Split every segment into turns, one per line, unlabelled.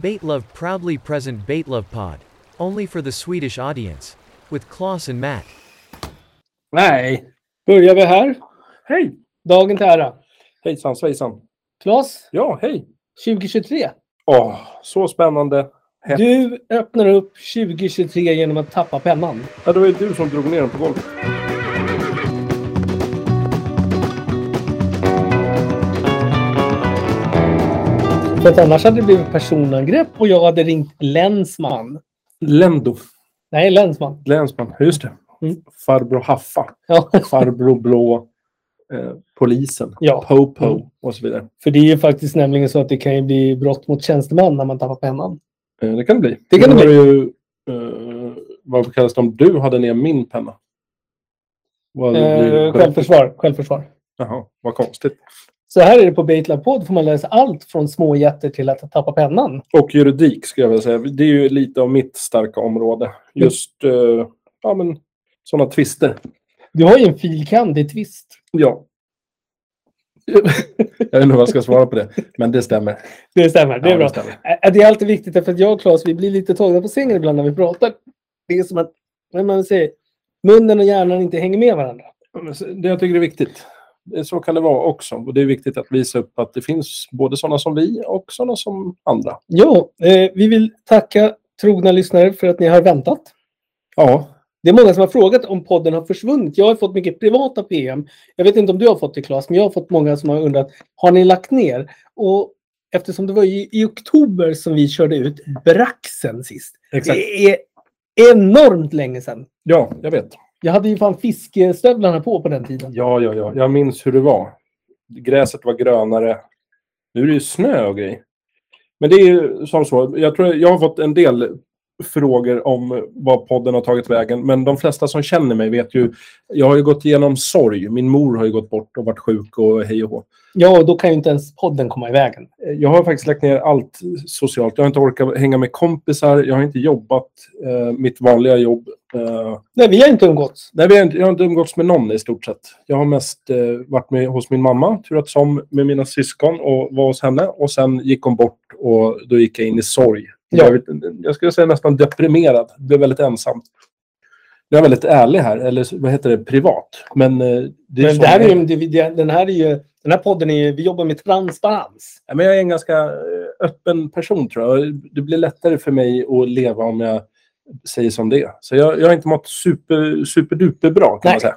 Baitlove proudly present Baitlove Pod. Only for the Swedish audience. With Klaus and Matt.
Nej.
Börjar vi här?
Hej!
Dagen till ära.
Hejsan svejsan.
Claes,
Ja, hej.
2023.
Åh, så spännande. Hett.
Du öppnar upp 2023 genom att tappa pennan.
Ja, det var ju du som drog ner den på golvet.
För att annars hade det blivit personangrepp och jag hade ringt länsman.
Lendo.
Nej, länsman.
Länsman. Ja, Just det.
Mm.
Farbror Haffa.
Ja,
Farbror Blå. Eh, polisen.
Ja.
Po-po.
Mm.
Och så vidare.
för det är ju faktiskt nämligen så att det kan ju bli brott mot tjänsteman när man tappar pennan.
Eh, det kan det bli.
Det kan
Nu
det
har Ju, eh, vad kallas det om du hade ner min penna? Vad hade det
Eh,
blivit?
självförsvar, självförsvar.
Jaha, vad konstigt.
Så här är det på Baitlab Podd får man läsa allt från småjätter till att tappa pennan.
Och juridik skulle jag vilja säga. Det är ju lite av mitt starka område. Just eh, ja, men, sådana tvister.
Du har ju en filkand i twist.
Ja. jag vet inte vad jag ska svara på det, men det stämmer.
Det stämmer, det är
Ja,
bra.
stämmer.
Äh, Det är alltid viktigt därför att jag och Claes, vi blir lite tagna på sängen ibland när vi pratar. Det är som att när man säger, munnen och hjärnan inte hänger med varandra.
Men så- Det jag tycker är viktigt. Eh, Så kan det vara också. Och det är viktigt att visa upp att det finns både sådana som vi och sådana som andra.
Jo, eh, vi vill tacka trogna lyssnare för att ni har väntat.
Ja,
Det är många som har frågat om podden har försvunnit. Jag har fått mycket privata PM. Jag vet inte om du har fått det Claes, men jag har fått många som har undrat, har ni lagt ner? Och eftersom det var i, i oktober som vi körde ut Braxen sist.
exakt.
Det är enormt länge sedan.
Ja, jag vet.
Jag hade ju fan fiskestövlarna på på den tiden.
Ja, ja, ja. Jag minns hur det var. Gräset var grönare. Nu är det ju snö och grej. Men det är ju som så. Jag, tror jag har fått en del frågor om vad podden har tagit vägen. Men de flesta som känner mig vet ju. Jag har ju gått igenom sorg. Min mor har ju gått bort och varit sjuk och hej och hå.
Ja, och då kan ju inte ens podden komma i vägen.
Jag har faktiskt lagt ner allt socialt. Jag har inte orkat hänga med kompisar. Jag har inte jobbat eh, mitt vanliga jobb. Eh,
Nej, vi har inte umgåtts.
Nej, vi har inte, jag har inte umgåtts med någon i stort sett. Jag har mest eh, varit med hos min mamma, turats om med mina syskon och var hos henne. Och sen gick hon bort och då gick jag in i sorg.
Ja.
Jag, vet, jag skulle säga nästan deprimerad. Blev väldigt ensam. Jag är väldigt ärlig här, eller vad heter det, privat. Men, eh, det är
Men
så
det här är
jag
ju, det- det- den, här är ju, den här podden är ju, vi jobbar med transparens.
Ja, men jag är en ganska eh, öppen person tror jag. Det blir lättare för mig att leva om jag säger som det är. Så jag, jag har inte mått super, superduperbra kan
Nej.
man säga.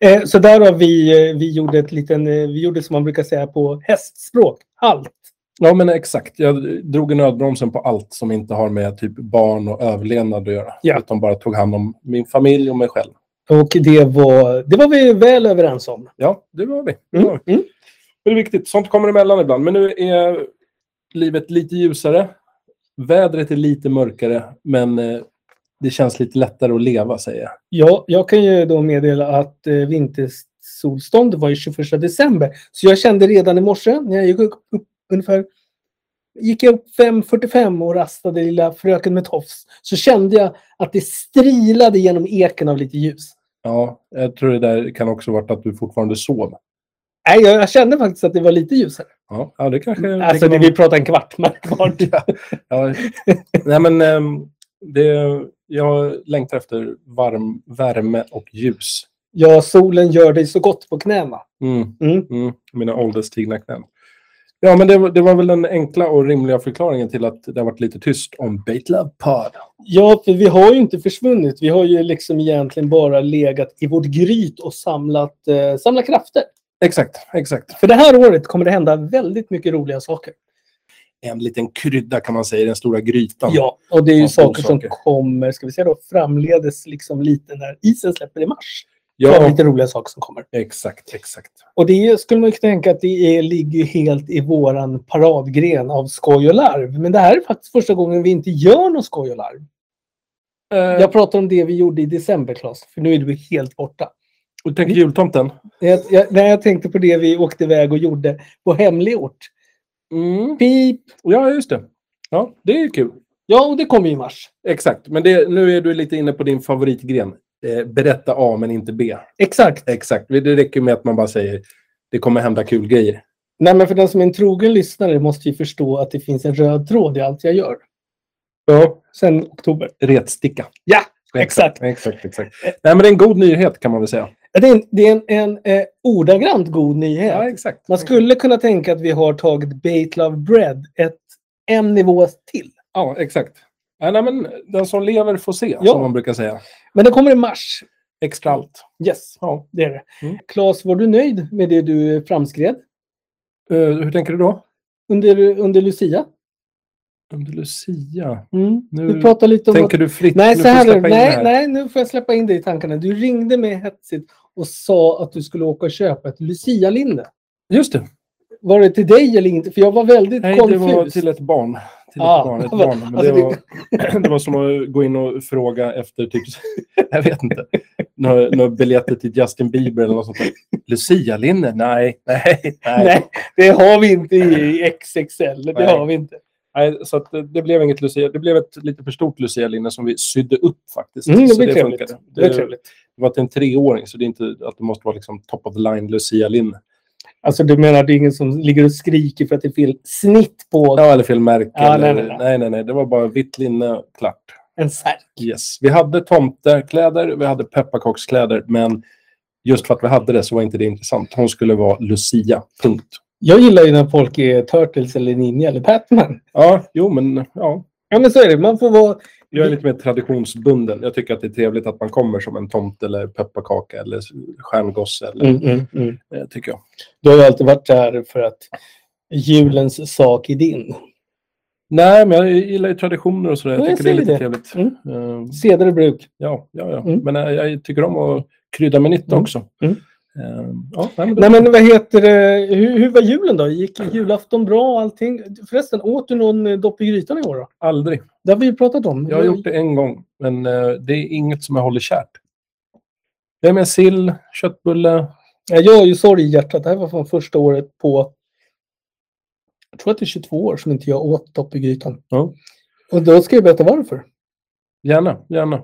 Eh, så därav vi, eh, vi gjorde ett liten, eh, vi gjorde som man brukar säga på hästspråk, halt.
Ja, men exakt. Jag drog i nödbromsen på allt som inte har med typ barn och överlevnad att göra.
Ja.
Utan bara tog hand om min familj och mig själv.
Och det var, det var vi väl överens om.
Ja, det var vi. Det, var
Mm.
vi.
Mm.
det är viktigt. Sånt kommer emellan ibland. Men nu är livet lite ljusare. Vädret är lite mörkare, men eh, det känns lite lättare att leva, säger jag.
Ja, jag kan ju då meddela att eh, vintersolståndet var ju 21 december. Så jag kände redan i morse när jag gick upp, upp ungefär gick jag upp 5.45 och rastade lilla fröken med tofs så kände jag att det strilade genom eken av lite ljus.
Ja, jag tror det där kan också varit att du fortfarande sov.
Nej, jag, jag kände faktiskt att det var lite ljusare.
Ja, ja Mm, det kanske...
Alltså,
det kan
det, vi pratar en kvart märkbart.
Ja. ja. Nej, men ehm, det, jag längtar efter varm, värme och ljus.
Ja, solen gör dig så gott på knäna.
Mm,
Mm.
mm, mina ålderstigna knän. Ja, men det, var- det var väl den enkla och rimliga förklaringen till att det har varit lite tyst om Bait Love Pod.
Ja, för vi har ju inte försvunnit. Vi har ju liksom egentligen bara legat i vårt gryt och samlat, eh, samlat krafter.
Exakt, exakt.
För det här året kommer det hända väldigt mycket roliga saker.
En liten krydda kan man säga i den stora grytan.
Ja, och det är ju
Ja,
saker som
saker.
kommer, ska vi säga då, framledes liksom lite när isen släpper i mars. Ja.
ja
lite roliga saker som kommer.
exakt, exakt.
Och det är, skulle man ju kunna tänka att det är, ligger ju helt i våran paradgren av skoj och larv. Men det här är faktiskt första gången vi inte gör något skoj och larv.
Eh,
Jag pratar om det vi gjorde i december, Claes, för nu är du helt borta.
och tänk jultomten.
Jag, jag, när jag tänkte på det vi åkte iväg och gjorde på hemlig ort. Pip!
Mm. Ja, just det. Ja, det är kul.
Ja, och det kommer i mars.
Exakt, men det, nu är du lite inne på din favoritgren. Eh, berätta A men inte B.
Exakt.
Exakt, det räcker med att man bara säger det kommer hända kul grejer.
Nej, men för den som är en trogen lyssnare måste ju förstå att det finns en röd tråd i allt jag gör.
Ja,
Sen oktober.
retsticka.
Ja, exakt.
Exakt, exakt. Nej, men det är en god nyhet kan man väl säga.
Det är en, det är en, en eh, ordagrant god nyhet.
exakt.
Man skulle kunna tänka att vi har tagit Bait Love Bread ett, en nivå till.
Ja, exakt. Nej, nej, men den som lever får se,
Ja.
som man brukar säga.
Men det kommer i mars.
Extra allt.
Yes, ja, det är det.
Mm.
Claes, var du nöjd med det du framskred
Eh, hur tänker du då?
under, under Lucia?
Under Lucia.
Mm.
Nu
Du pratar lite om att...
Tänker du fritt?
Nej,
Nu
så
får
här,
jag
är det.
släppa in det
nej,
här.
nej, nu får jag släppa in dig i tankarna. Du ringde mig hetsigt och sa att du skulle åka och köpa ett Lucia-linde.
Just det.
Var det till dig eller inte? För jag var väldigt
Nej, det
konfus.
var till ett barn. Till
Ah.
ett barn, ett barn. Men
Alltså,
det, var, det var som att gå in och fråga efter, typ, jag vet inte, några, några biljetter till Justin Bieber eller något sånt. där. Lucia-linne? Nej, nej, nej.
Nej, det har vi inte i XXL. Det
Nej.
har vi inte.
Nej, så att det, det blev inget Lucia. Det blev ett lite för stort Lucia-linne som vi sydde upp faktiskt.
Mm, det
Så
blir trevligt.
funkade.
Det är trevligt.
Det var till en treåring, så det är inte att det måste vara liksom top of the line Lucia-linne.
Alltså du menar det är ingen som ligger och skriker för att det är fel snitt på
Ja, eller fel märke.
Ja,
eller,
Ah, nej, nej, nej.
nej, nej. Det var bara vitt linne, klart.
en särk?
Yes. Vi hade tomtekläder, vi hade pepparkakskläder, men just för att vi hade det så var inte det intressant. Hon skulle vara Lucia, punkt.
Jag gillar ju när folk är Turtles eller Ninja eller Batman.
Ja, jo, men ja.
Ja, men så är det. Man får vara...
Jag är lite mer traditionsbunden. Jag tycker att det är trevligt att man kommer som en tomte eller pepparkaka eller stjärngosse. Eller,
Mm, mm, mm.
eh, tycker jag.
Du har ju alltid varit där för att julens sak är din.
Nej, men jag gillar ju traditioner och sådär. Jag
Ja, jag
tycker det är
ser
lite
det.
trevligt.
Mm.
Eh,
Seder och bruk.
ja, ja, ja.
Mm.
men eh, jag tycker om att krydda med nytta
Mm.
också.
Mm.
Eh, ja, nej, men det-
Nej, men vad heter det? Hur, hur var julen då? Gick julafton bra och allting? Förresten, åt du någon eh, dopp i grytan i år då?
Aldrig.
Det har vi ju pratat om.
Jag har gjort det en gång, men eh, det är inget som jag håller kärt. Det är med sill, köttbulle.
Ja, Jag har ju sorg i hjärtat. Det här var från första året på... Jag tror att det är 22 år som inte jag åt dopp i grytan.
Ja.
Och då ska jag berätta varför.
Gärna, gärna.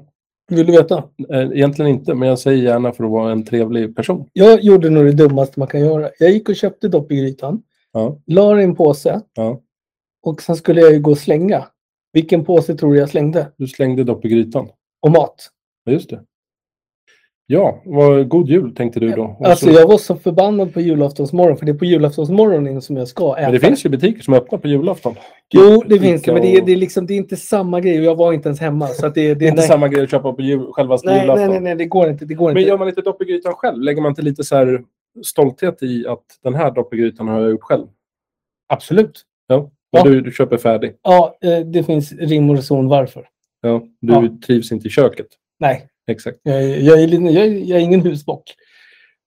Vill du veta?
Eh, Egentligen inte, men jag säger gärna för att vara en trevlig person.
Jag gjorde nog det dummaste man kan göra. Jag gick och köpte dopp i grytan.
Ja,
La det i en påse.
ja.
Och sen skulle jag ju gå och slänga. Vilken påse tror du jag slängde?
Du slängde dopp i grytan.
Och mat.
Ja, Just det. Ja, vad god jul tänkte du då. Och
Alltså
så-
jag var så förbannad på julaftonsmorgon. För det är på julaftonsmorgonen som jag ska äta.
Men det finns ju butiker som är öppna på julafton.
Jo,
Typ
det finns det.
Ica
Men det är,
och-
det, är liksom, det är inte samma grej. Och jag var inte ens hemma. Så att det, det,
Det är inte
nej.
samma grej att köpa på jul, själva
Nej,
julafton.
nej, nej, nej, det går inte. Det går inte.
Men gör man lite dopp i grytan själv? Lägger man inte lite så här stolthet i att den här dopp i grytan har jag gjort själv?
Absolut.
Ja, och
Ja.
Du, du köper färdig.
Ja, eh, det finns rim och reson varför.
Ja, du
Ja.
trivs inte i köket.
Nej,
Exakt.
jag, är- jag, är, lite- jag, är- jag är ingen husbock.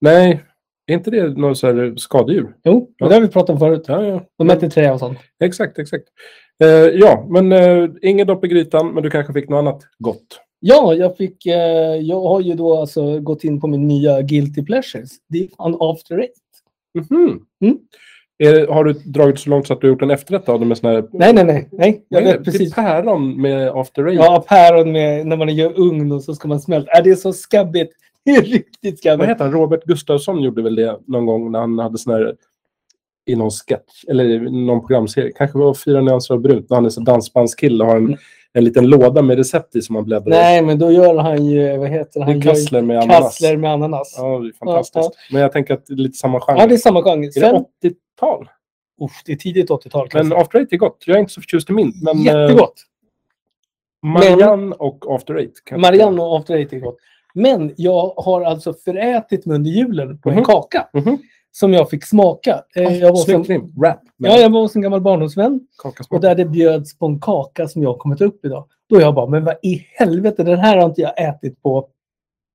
Nej, är inte det något så här skadedjur?
Jo,
Ja.
det har vi pratat om förut.
Ja, ja.
De äter trä och sånt.
Exakt, exakt. Eh, ja, men eh, ingen dopp i grytan, men du kanske fick något annat gott.
Ja, jag, fick, eh, jag har ju då alltså gått in på min nya Guilty Pleasures. Det är fan After Eight.
Mhm.
Mm.
Är det- har du dragit så långt så att du har gjort en efterrätt av det med sån här...
Nej, nej, nej. nej jag
Vad är
vet
det?
precis.
Det är päron med after rain.
Ja, päron med, när man gör ugn och så ska man smälta. Äh, det är så skabbigt. Det är riktigt
Vad
skabbigt.
heter han? Robert Gustafsson gjorde väl det någon gång när han hade sån här i någon sketch eller i någon programserie. Kanske var Fyra nyanser av brunt när han är så dansbandskille och har en, en liten låda med recept i som han bläddrar i.
Nej, men då gör han ju, vad heter
Det
han?
är
Gör ju
kassler med ananas.
kassler med ananas. Ja,
Ja, det är fantastiskt. Men jag tänker att det är lite samma genre.
det är samma genre.
Är det
Sen,
80-tal?
uff, det är tidigt 80-tal. kan jag
Men
säga.
After Eight är gott. Jag är inte så förtjust i mint. Men eh,
Jättegott.
Marianne och After Eight. kanske.
Marianne och After Eight är gott. Men jag har alltså förätit mig under julen på en
Mhm.
kaka
Mhm.
som jag fick smaka. Eh,
Oh,
Jag var
Snygg
som,
krim. Wrap. med
ja, jag var hos en gammal barndomsvän och
kakasmak.
där det bjöds på en kaka som jag har kommit upp idag. Då jag bara, men vad i helvete, den här har inte jag ätit på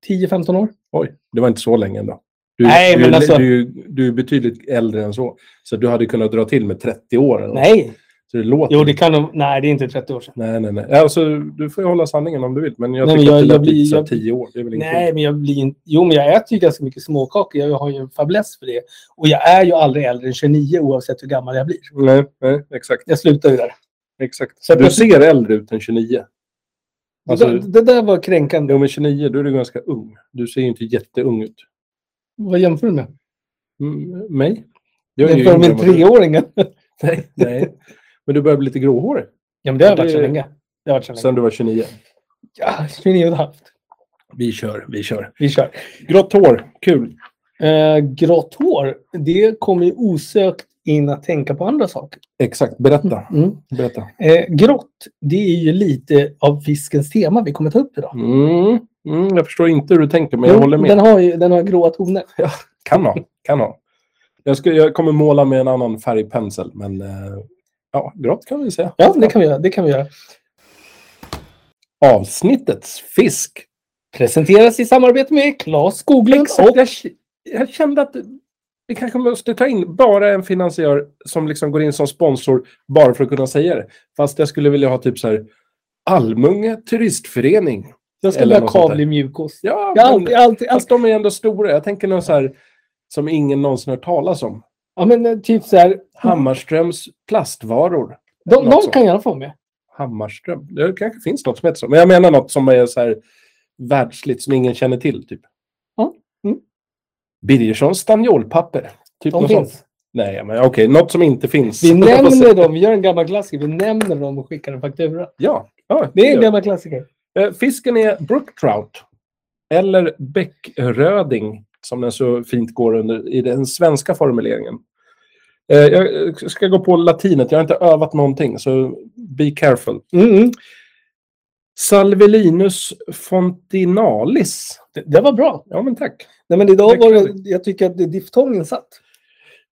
10-15 år.
Oj, det var inte så länge ändå. Du,
Nej,
du,
men alltså-
du, du är betydligt äldre än så. Så du hade kunnat dra till med 30 år. Eller något.
Nej,
Så det låter...
jo det kan de, nej det är inte 30 år sedan.
Nej, nej, nej. Alltså, du får ju hålla sanningen om du vill. Men jag
Nej, men
tycker
jag-
att det
jag
lät lite
blir-
så här
jag-
10 år. Det är väl ingenting.
Nej, men jag blir inte... Jo, men jag äter ju ganska mycket småkakor. Jag har ju en fäbless för det. Och jag är ju aldrig äldre än 29 oavsett hur gammal jag blir.
nej, nej, exakt.
Jag slutar ju där.
exakt.
Så att
du
jag-
ser äldre ut än 29. Alltså-
det, det där var kränkande.
Jo, men 29, då är du ganska ung. Du ser ju inte jätteung ut.
Vad jämför du med?
Mm, mig? Jag är ju
Jämför
yngre
med
än vad du-
treåringen.
Nej, nej. Men du börjar bli lite gråhårig
Ja, men det har
Det-
varit så länge. Det har varit så länge.
sen du var 29.
Ja, 29 och ett halvt.
Vi kör, vi kör.
Vi kör.
Grått hår, kul.
Eh, grått hår, det kommer ju osökt in att tänka på andra saker.
Exakt, berätta.
Mm.
berätta.
Eh, grått, det är ju lite av fiskens tema vi kommer ta upp idag.
Mm, mm, jag förstår inte hur du tänker, men jag
Jo,
håller med.
Den har, ju, den har gråa toner.
Kan ha, kan ha. Jag, ska, jag kommer måla med en annan färgpensel, men eh, ja, grått kan vi säga.
Ja, det kan vi göra. Det kan vi göra.
Avsnittets fisk.
Presenteras i samarbete med Claes Skoglund och...
Jag, jag kände att vi kanske måste ta in bara en finansiär som liksom går in som sponsor bara för att kunna säga det. Fast jag skulle vilja ha typ så här Almunge turistförening.
Jag ska
eller
börja
något sånt där.
kavlig mjukos.
Ja,
Jag har
men-
alltid, alltid, alltid,
Fast de är ändå stora. Jag tänker någon så här som ingen någonsin hört talas om.
ja, men eh, typ så här.
Hammarströms plastvaror.
De,
något
de
sånt. Typ
kan jag få med.
Hammarström. Det kanske finns något som heter så. Men jag menar något som är så här världsligt som ingen känner till. Typ.
Ja, mm.
Birgerssons stanniolpapper. Typ
De
något
finns.
Sånt. Nej, men okej. något som inte finns.
Vi nämner dem. Vi gör en gammal klassiker. Vi nämner dem och skickar en faktura.
Ja. ja
Det är en
gör
gammal klassiker.
vi. Eh, Fisken är brooktrout. Eller bäckröding. Som den så fint går under i den svenska formuleringen. Eh, Jag eh, ska gå på latinet. Jag har inte övat någonting. Så be careful.
Mm, mm.
Salvelinus fontinalis.
Det, det var bra.
Ja, men tack.
Nej, men idag
Det
var
är
det, jag tycker att det- diftongen satt.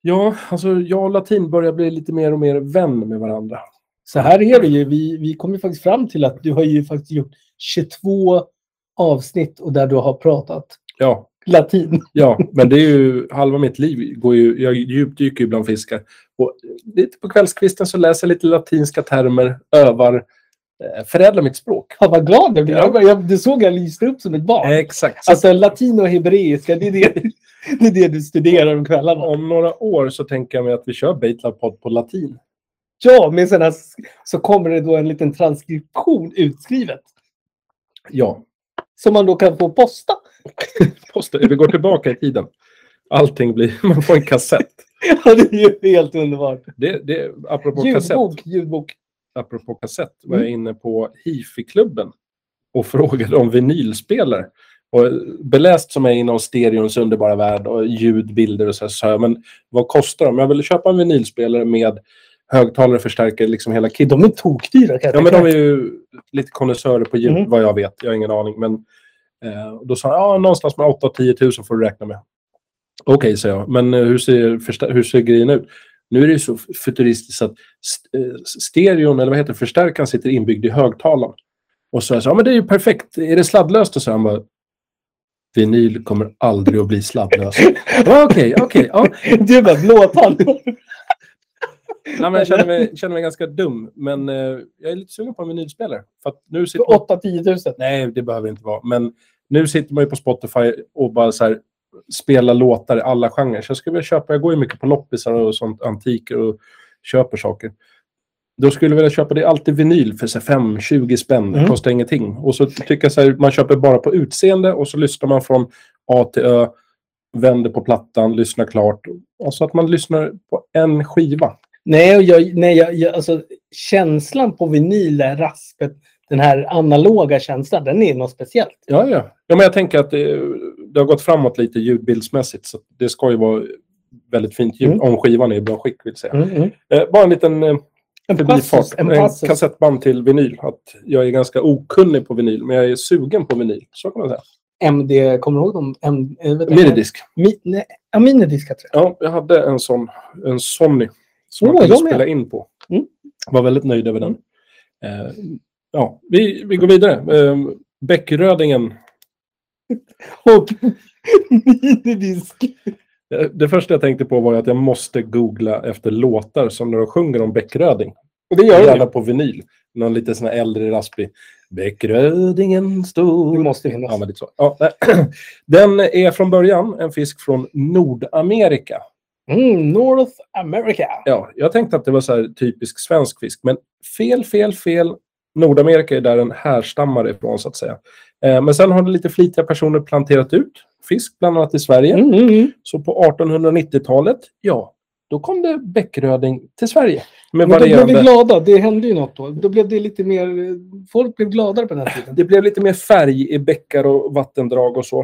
Ja, alltså jag och latin börjar bli lite mer och mer vän med varandra.
Så här är det ju. Vi, vi kom ju faktiskt fram till att du har ju faktiskt gjort 22 avsnitt och där du har pratat
Ja,
latin.
ja men det är ju halva mitt liv. Går ju, jag djupdyker ju bland fiskar. Och lite på kvällskvisten så läser jag lite latinska termer, övar, eh, förädlar mitt språk.
Fan vad glad jag blev.
Ja.
Jag, jag, det såg jag lyste upp som ett barn.
Exakt. Så
Alltså latin och hebreiska, det är det, det, är det du studerar om kvällarna.
om några år så tänker jag mig att vi kör Baitlab-podd på latin.
Ja, men sen här, så kommer det då en liten transkription utskrivet.
Ja,
Som man då kan få posta.
Posta, vi går tillbaka i tiden. Allting blir... Man får en kassett.
Ja, det är ju helt underbart.
Det, det, apropå kassett.
Ljudbok, ljudbok.
apropå kassett, var jag inne på hifi-klubben och frågade om vinylspelare. Och beläst som jag är inom stereons underbara värld och ljud, bilder och så här, så här, men vad kostar de? Jag ville köpa en vinylspelare med högtalare, förstärkare, liksom hela kidden.
De är tokdyra kan jag
Ja, men de
tänka
är
mig.
ju lite konnässörer på ljud,
Mhm.
vad jag vet. Jag har ingen aning. Men eh, då sa han, ja, någonstans mellan 8 och 10 000 får du räkna med. Okej, sa jag. Men eh, hur ser, första- hur ser grejen ut? Nu är det ju så futuristiskt att st- eh, stereon, eller vad heter det, förstärkaren sitter inbyggd i högtalaren. Och så jag sa, ja, men det är ju perfekt. Är det sladdlöst? Och så han bara, vinyl kommer aldrig att bli sladdlöst. Ja, Okej, okej. ja.
Du bara, blåtand.
Nej, men Jag känner mig, känner mig ganska dum, men eh, jag är lite sugen på en vinylspelare. För att nu
Typ
sitter
8-10 tusen.
Nej, det behöver inte vara. Men nu sitter man ju på Spotify och bara så här spelar låtar i alla genrer. Så jag skulle vilja köpa, jag går ju mycket på loppisar och sånt, antiker och köper saker. Då skulle jag vilja köpa, det är alltid vinyl för 5-20 spänn, det
Mm.
kostar ingenting. Och så tycker jag så här, man köper bara på utseende och så lyssnar man från A till Ö, vänder på plattan, lyssnar klart. Och så att man lyssnar på en skiva.
Nej, och jag, nej jag, jag, alltså, känslan på vinyl, det här raspet, den här analoga känslan, den är något speciellt.
Ja, ja. ja men jag tänker att det, det har gått framåt lite ljudbildsmässigt. Så det ska ju vara väldigt fint ljud,
Mm.
om skivan är i bra skick. Vill säga. Eh, bara en liten eh,
En passus.
förbifart.
mm. En
En,
passus.
kassettband till vinyl. Att jag är ganska okunnig på vinyl, men jag är sugen på vinyl. Så kan man säga.
MD, kommer du ihåg dem? M, eh, vet du-
Minidisk.
Mi, nej, ja, minidisk heter det.
Ja, jag hade en sån, en Sony som
Åh,
man kunde
jag med.
spela in på.
Mm.
Var väldigt nöjd över den. Eh, ja, vi, vi går vidare. Eh, Bäckrödingen.
Och minidisk.
Eh, Det första jag tänkte på var ju att jag måste googla efter låtar som när de sjunger om Bäckröding.
Och det gör
Gärna
det.
på vinyl. Någon lite sån här äldre raspig. Bäckrödingen
Det
stor.
måste finnas.
Ja, men lite så. Ja, nej. Den är från början en fisk från Nordamerika.
Mm, North America.
Ja, jag tänkte att det var så här typisk svensk fisk, men fel, fel, fel. Nordamerika är där den härstammar ifrån, så att säga. Eh, men sen har det lite flitiga personer planterat ut fisk, bland annat i Sverige.
Mm, mm, mm.
Så på 1890-talet, ja, Då kom det bäckröding till Sverige. Med
Men då blev vi
varierande...
glada. Det hände ju något då. Då blev det lite mer... eh, Folk blev gladare på den här tiden.
Det blev lite mer färg i bäckar och vattendrag och så.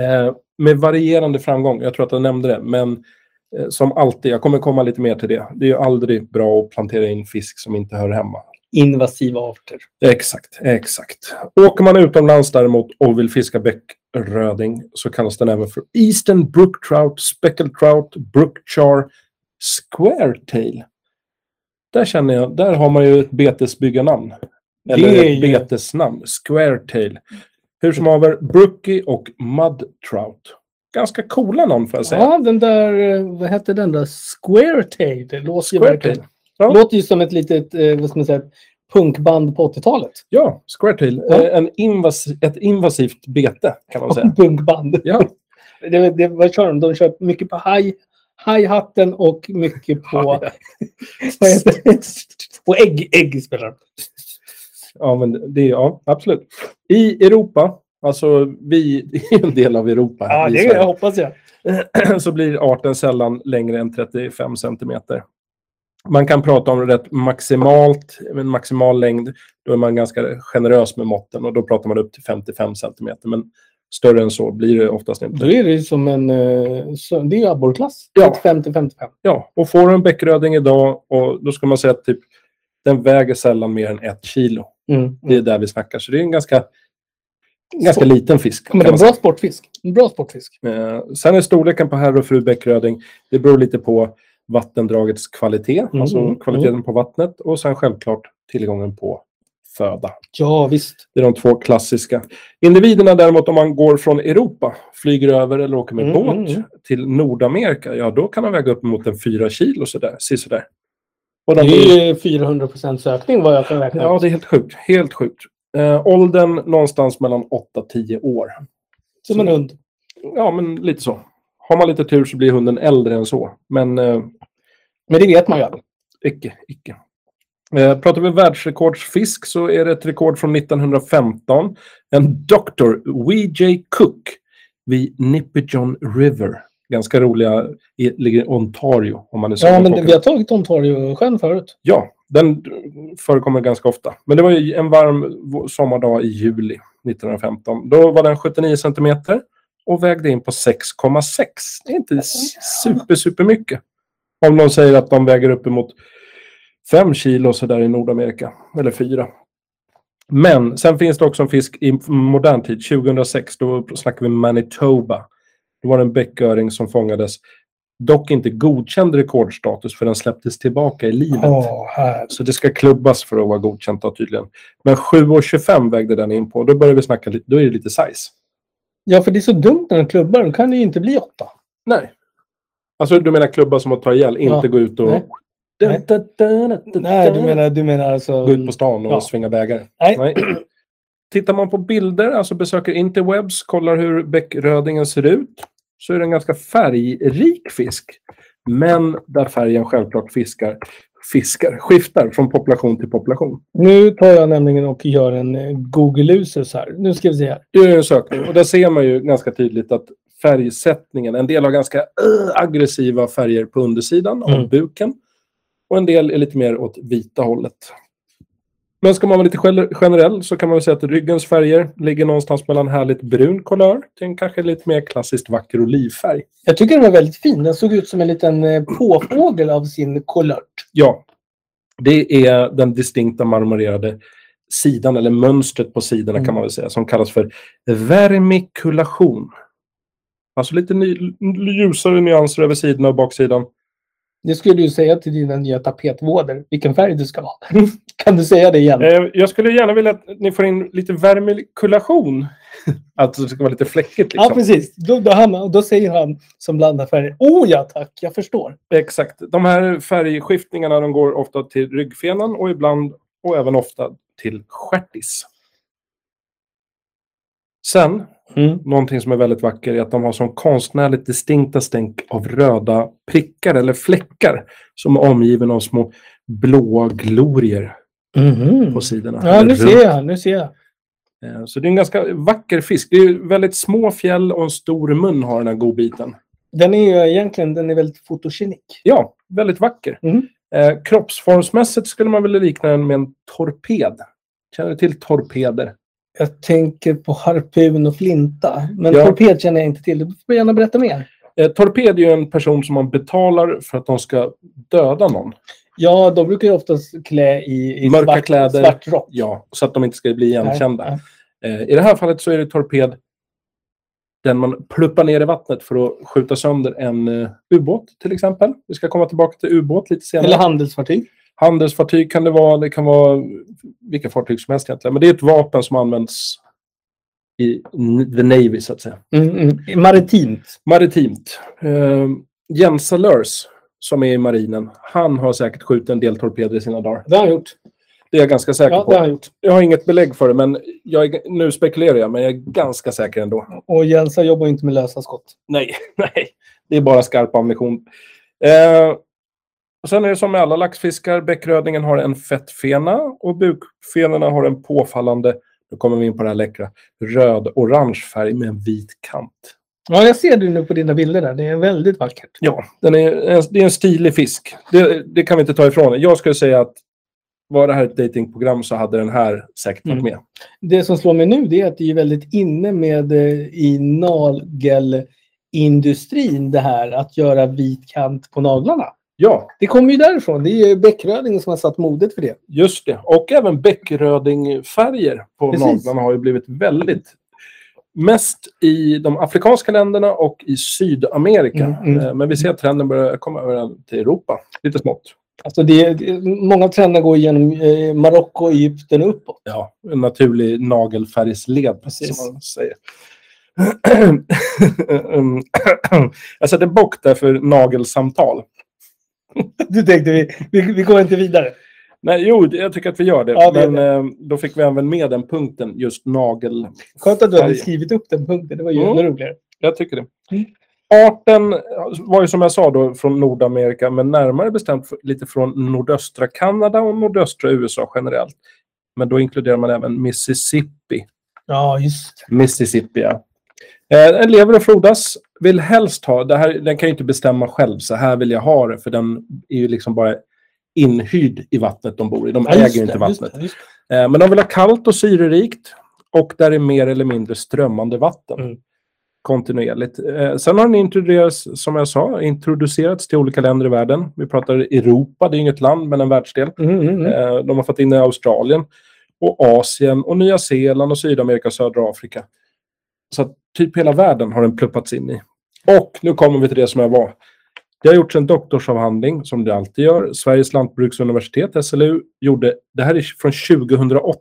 Eh, med varierande framgång. Jag tror att jag nämnde det. Men eh, som alltid, jag kommer komma lite mer till det. Det är ju aldrig bra att plantera in fisk som inte hör hemma.
Invasiva arter.
Exakt, exakt. Åker man utomlands däremot och vill fiska bäckröding så kallas den även för Eastern Brook Trout, Speckled Trout, Brook Char, Square Tail. Där känner jag, där har man ju ett betesbyggarnamn. Eller
Det är
ett
ju-
betesnamn, Square Tail. Hur som haver, Brookie och Mud Trout. Ganska coola namn får jag säga.
Ja, den där... eh, Vad hette den där? Square Tail. Det låter ju
Square
verkligen...
Tail. Ja.
låter ju som ett litet eh, vad ska man säga, punkband på 80-talet.
Ja, Square Tail.
Ja.
Eh, En invas- ett invasivt bete kan man säga.
Punkband.
Ja.
Det, det, vad kör de? De kör mycket på haj, hajhatten och mycket på... vad heter det? och ägg, ägg spelar de.
Ja, men det, ja, absolut. I Europa, alltså vi är en del av Europa,
Ja,
vi
det
i
jag hoppas jag.
Sverige, så blir arten sällan längre än 35 centimeter. Man kan prata om rätt maximalt, en maximal längd. Då är man ganska generös med måtten och då pratar man upp till 55 centimeter. Men större än så blir det oftast
Då
inte.
är det ju som en... eh, så- Det är ju abborrklass.
Ja.
35 till 55.
Ja, och får du en bäckröding idag, och då ska man säga att typ, den väger sällan mer än ett kilo.
Mm.
Det är där vi snackar, så det är en ganska, ganska liten fisk. kan
Men det är
man
en
säga.
bra sportfisk. En bra sportfisk.
Eh, sen är storleken på herr och fru bäckröding, det beror lite på vattendragets kvalitet,
Mm,
alltså
mm,
kvaliteten på vattnet och sen självklart tillgången på föda.
Ja, visst.
Det är de två klassiska. Individerna däremot, om man går från Europa, flyger över eller åker med
Mm,
båt
mm, mm.
till Nordamerika, ja då kan de väga upp emot en fyra kilo sådär, sisådär. Och
Det
de
är ju 400 sökning vad jag kan räkna
Ja,
ut.
det är helt sjukt. Helt sjukt. Eh, åldern någonstans mellan 8-10 år.
Som en hund.
Ja, men lite så. Har man lite tur så blir hunden äldre än så. Men eh,
Men det vet man ju aldrig.
Icke, icke. Eh, pratar vi världsrekordsfisk så är det ett rekord från 1915. En doktor, W.J. Cook, vid Nipigon River. Ganska roliga, i, ligger i Ontario om man är
Ja,
sugen
men
på
det,
att
vi
åka.
har tagit Ontario-sjön förut.
Ja, den förekommer ganska ofta. Men det var ju en varm v- sommardag i juli 1915. Då var den 79 centimeter och vägde in på 6,6. Det är inte s- super, super mycket. Om någon säger att de väger uppemot 5 kilo så där i Nordamerika, eller 4. Men sen finns det också en fisk i modern tid, 2006, då snackar vi Manitoba. Då var det en bäcköring som fångades, dock inte godkänd rekordstatus för den släpptes tillbaka i livet.
Ja, här.
Så det ska klubbas för att vara godkänt då, tydligen. Men 7,25 vägde den in på. Då börjar vi snacka lite, då är det lite size.
Ja, för det är så dumt när de klubbar. De kan ju inte bli åtta.
Nej. Alltså du menar klubba som att ta ihjäl, inte
Ja.
gå ut och...
Nej. Nej.
Da, da, da, da, da,
Nej,
da.
du menar, du menar alltså...
Gå ut på stan och
Ja.
svinga bägare.
Nej.
Tittar man på bilder, alltså besöker interwebs, kollar hur bäckrödingen ser ut, så är det en ganska färgrik fisk. Men där färgen självklart fiskar, fiskar, skiftar från population till population.
Nu tar jag nämligen och gör en eh, Google Users här. Nu ska vi se här.
Du gör en sökning och där ser man ju ganska tydligt att färgsättningen, en del har ganska eh, aggressiva färger på undersidan av
Mm.
buken och en del är lite mer åt vita hållet. Men ska man vara lite gel- generell så kan man väl säga att ryggens färger ligger någonstans mellan härligt brun kolör till en kanske lite mer klassiskt vacker olivfärg.
Jag tycker den var väldigt fin. Den såg ut som en liten eh, påfågel av sin kolört.
Ja, det är den distinkta marmorerade sidan, eller mönstret på sidorna
Mm.
kan man väl säga, som kallas för vermikulation. Alltså lite ny, ljusare nyanser över sidorna och baksidan.
Det skulle du säga till dina nya tapetvårder, vilken färg du ska ha. kan du säga det igen?
Eh, jag skulle gärna vilja att ni får in lite vermikulation. alltså det ska vara lite fläckigt.
Ja,
Liksom.
precis. Då, då, han, och då säger han som blandar färger. Oh ja, tack. Jag förstår.
Exakt. De här färgskiftningarna de går ofta till ryggfenan och ibland och även ofta till stjärtis. Sen Någonting som är väldigt vacker är att de har som konstnärligt distinkta stänk av röda prickar eller fläckar som är omgiven av små blåa glorier
Mhm.
på sidorna.
Ja,
Eller
nu
runt.
ser jag. Nu ser jag.
Eh, Så det är en ganska vacker fisk. Det är ju väldigt små fjäll och en stor mun har den här godbiten.
Den är ju egentligen den är väldigt fotogenik.
Ja, väldigt vacker.
Mm.
Eh, kroppsformsmässigt skulle man väl likna den med en torped. Känner du till torpeder?
Jag tänker på harpun och flinta. Men
Ja.
torped känner jag inte till. Du får gärna berätta mer.
Eh, torped är ju en person som man betalar för att de ska döda någon.
Ja, de brukar ju oftast klä i, i
Mörka
svart,
kläder.
svart rock.
Ja, så att de inte ska bli igenkända.
Nej,
Eh, I det här fallet så är det torped den man pluppar ner i vattnet för att skjuta sönder en eh, ubåt till exempel. Vi ska komma tillbaka till ubåt lite senare.
Eller handelsfartyg.
Handelsfartyg kan det vara, det kan vara vilka fartyg som helst egentligen. Men det är ett vapen som används i n- the Navy så att säga.
Mm, mm. Maritimt.
Maritimt. Eh, Jens Salers som är i marinen, han har säkert skjutit en del torpeder i sina dagar.
Det har han gjort.
Det är jag ganska säker
Ja, det har
på.
han gjort.
Jag har inget belägg för det, men jag är, nu spekulerar jag, men jag är ganska säker ändå.
Och Jensa jobbar ju inte med lösa skott.
Nej, nej. Det är bara skarp ammunition. Eh, och sen är det som med alla laxfiskar. Bäckrödingen har en fettfena och bukfenorna har en påfallande, nu kommer vi in på det här läckra, röd-orange färg med en vit kant.
Ja, jag ser det nu på dina bilder där. Det är väldigt vackert.
Ja, den är, en- det är en stilig fisk. Det, det kan vi inte ta ifrån. Jag skulle säga att var det här ett datingprogram så hade den här säkert varit
Mm.
med.
Det som slår mig nu det är att det är väldigt inne med eh, i nagelindustrin det här att göra vit kant på naglarna.
Ja,
Det kommer ju därifrån. Det är ju Bäckrödingen som har satt modet för det.
Just det. Och även bäckrödingfärger på
Precis.
naglarna har ju blivit väldigt... Mest i de afrikanska länderna och i Sydamerika.
Mm, mm.
Eh, Men vi ser att trenden börjar komma över till Europa. Lite smått.
Alltså det, det- många trender går genom eh, Marocko, Egypten och uppåt.
Ja, en naturlig nagelfärgsled,
Precis.
precis som man säger. Mm. jag sätter bock där för nagelsamtal.
Du tänkte vi, vi, vi går inte vidare.
Nej, jo, jag tycker att vi gör det.
Ja, vi gör
men eh, då fick vi även med den punkten, just nagel.
Skönt att du hade
Färger.
skrivit upp den punkten. Det var ju
Mm.
ännu roligare.
Jag tycker det.
Mm.
Arten var ju som jag sa då från Nordamerika, men närmare bestämt f- lite från nordöstra Kanada och nordöstra USA generellt. Men då inkluderar man även Mississippi.
Ja, just det.
Mississippi, ja. Eh, Den lever och frodas, vill helst ha, det här, den kan ju inte bestämma själv, så här vill jag ha det, för den är ju liksom bara inhyrd i vattnet de bor i. De
Ja,
äger
just
ju
det,
inte
just
vattnet.
det, just det.
Eh, Men de vill ha kallt och syrerikt och där är mer eller mindre strömmande vatten.
Mm.
Kontinuerligt. Eh, Sen har den introducerats, som jag sa, introducerats till olika länder i världen. Vi pratar Europa, det är inget land men en världsdel.
Mm, mm, mm.
Eh, De har fått in i Australien, och Asien, och Nya Zeeland, och Sydamerika och södra Afrika. Så att typ hela världen har den pluppats in i. Och nu kommer vi till det som jag var. Det har gjorts en doktorsavhandling, som det alltid gör. Sveriges lantbruksuniversitet, SLU, gjorde... Det här är från 2008.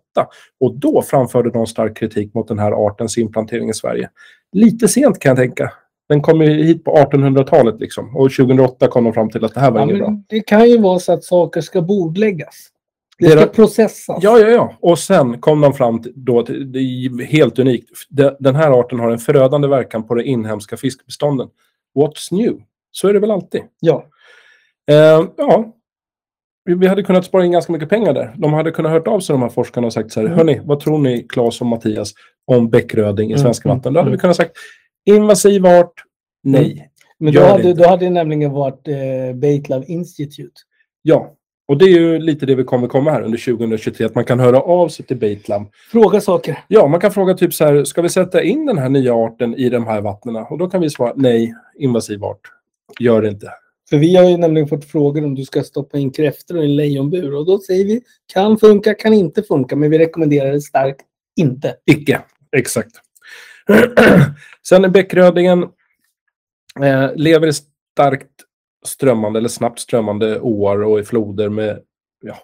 Och då framförde de stark kritik mot den här artens inplantering i Sverige. Lite sent kan jag tänka. Den kom ju hit på 1800-talet liksom. Och 2008 kom de fram till att det här var
Ja,
inget bra.
men det kan ju vara så att saker ska bordläggas. Det
Det
ska
är-
processas.
Ja, ja, ja. Och sen kom de fram till, då, till- det är ju helt unikt. De- Den här arten har en förödande verkan på de inhemska fiskbestånden. What's new? Så är det väl alltid.
Ja.
Eh, ja. Vi- Vi hade kunnat spara in ganska mycket pengar där. De hade kunnat hört av sig, de här forskarna, och sagt så här.
Mm.
Hörni, vad tror ni, Claes och Mattias, om bäckröding i
Mm,
svenska
mm,
vatten? Då hade
mm.
vi kunnat sagt invasiv art, nej.
Men då
Gör det
hade,
inte.
då hade det nämligen varit eh, Baitlove Institute.
Ja. Och det är ju lite det vi kommer komma här under 2023, att man kan höra av sig till Baitlam
Fråga saker.
Ja, man kan fråga typ så här, ska vi sätta in den här nya arten i de här vattnena? Och då kan vi svara nej, invasiv art. Gör det inte.
För vi har ju nämligen fått frågor om du ska stoppa in kräftor i en lejonbur. Och då säger vi kan funka, kan inte funka. Men vi rekommenderar det starkt inte.
Icke. Exakt. Sen är bäckrödingen eh, lever i starkt strömmande eller snabbt strömmande åar och i floder med ja,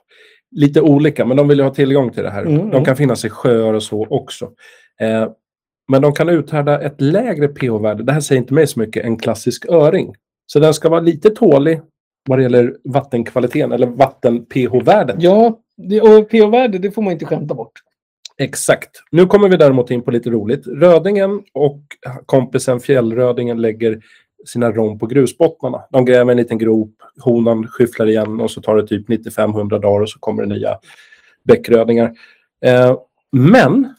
lite olika, men de vill ju ha tillgång till det här.
Mm, mm.
De kan finnas i sjöar och så också. Eh, men de kan uthärda ett lägre pH-värde, det här säger inte mig så mycket, än klassisk öring. Så den ska vara lite tålig vad det gäller vattenkvaliteten eller vatten-pH-värdet.
Ja, det, och pH-värde det får man inte skämta bort.
Exakt. Nu kommer vi däremot in på lite roligt. Rödingen och kompisen fjällrödingen lägger sina rom på grusbottnarna. De gräver en liten grop, honan skyfflar igen och så tar det typ 9500 dagar och så kommer det nya bäckrödingar. Eh, men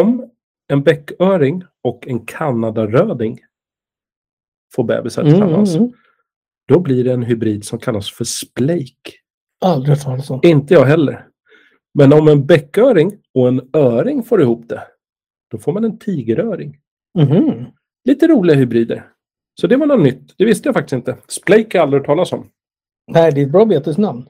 om en bäcköring och en kanadaröding får bebisar
Mm,
tillsammans.
mm, mm.
Då blir det en hybrid som kallas för splake.
Aldrig hört talas om.
Inte jag heller. Men om en bäcköring och en öring får ihop det, då får man en tigeröring.
Mhm.
Lite roliga hybrider. Så det var något nytt. Det visste jag faktiskt inte. Splake har jag aldrig hört talas om.
Nej, det är ett bra betesnamn.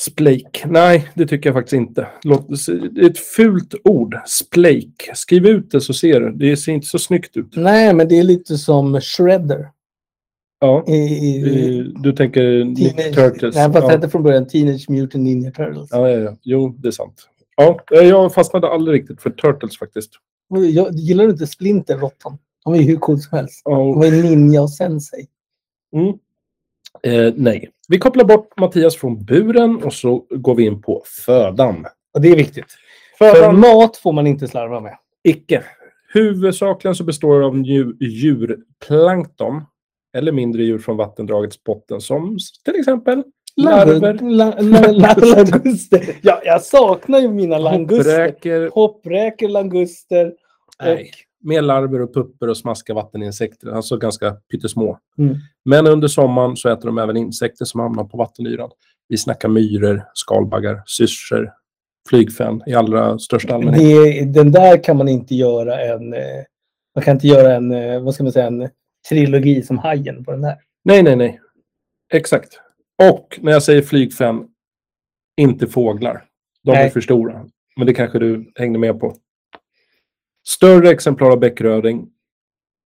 Splake. Nej, det tycker jag faktiskt inte. Låt, det är ett fult ord. Splake. Skriv ut det så ser du. Det ser inte så snyggt ut.
Nej, men det är lite som Shredder.
Ja.
I, i,
eh, Du tänker Nick Turtles.
Nej, vad
ja.
hette från början? Teenage Mutant Ninja Turtles.
Ja, ja, ja. Jo, det är sant. Ja, eh, jag fastnade aldrig riktigt för Turtles faktiskt.
Jag, gillar du inte Splinter, råttan? De är ju hur cool som helst.
Ja,
De är ninja och sensei.
Mm. Eh, nej. Vi kopplar bort Mattias från buren och så går vi in på födan.
Och det är viktigt. För
Födan
mat får man inte slarva med.
icke. Huvudsakligen så består det av djur, djurplankton eller mindre djur från vattendragets botten som s- till exempel larver,
La- la- la- Languster. Ja, jag saknar ju mina languster.
hoppräkor,
Hoppräkor, languster.
nej, mer larver och pupper och smaska vatteninsekter, alltså ganska pyttesmå.
Mm.
Men under sommaren så äter de även insekter som hamnar på vattenyran. Vi snackar myror, skalbaggar, syrsor, flygfän i allra största allmänhet.
Det, den där kan man inte göra en... eh, Man kan inte göra en, eh, vad ska man säga, en trilogi som Hajen på den här.
Nej, nej, nej. Exakt. Och när jag säger flygfän, inte fåglar. De är
Nej.
för stora. Men det kanske du hängde med på. Större exemplar av bäckröding.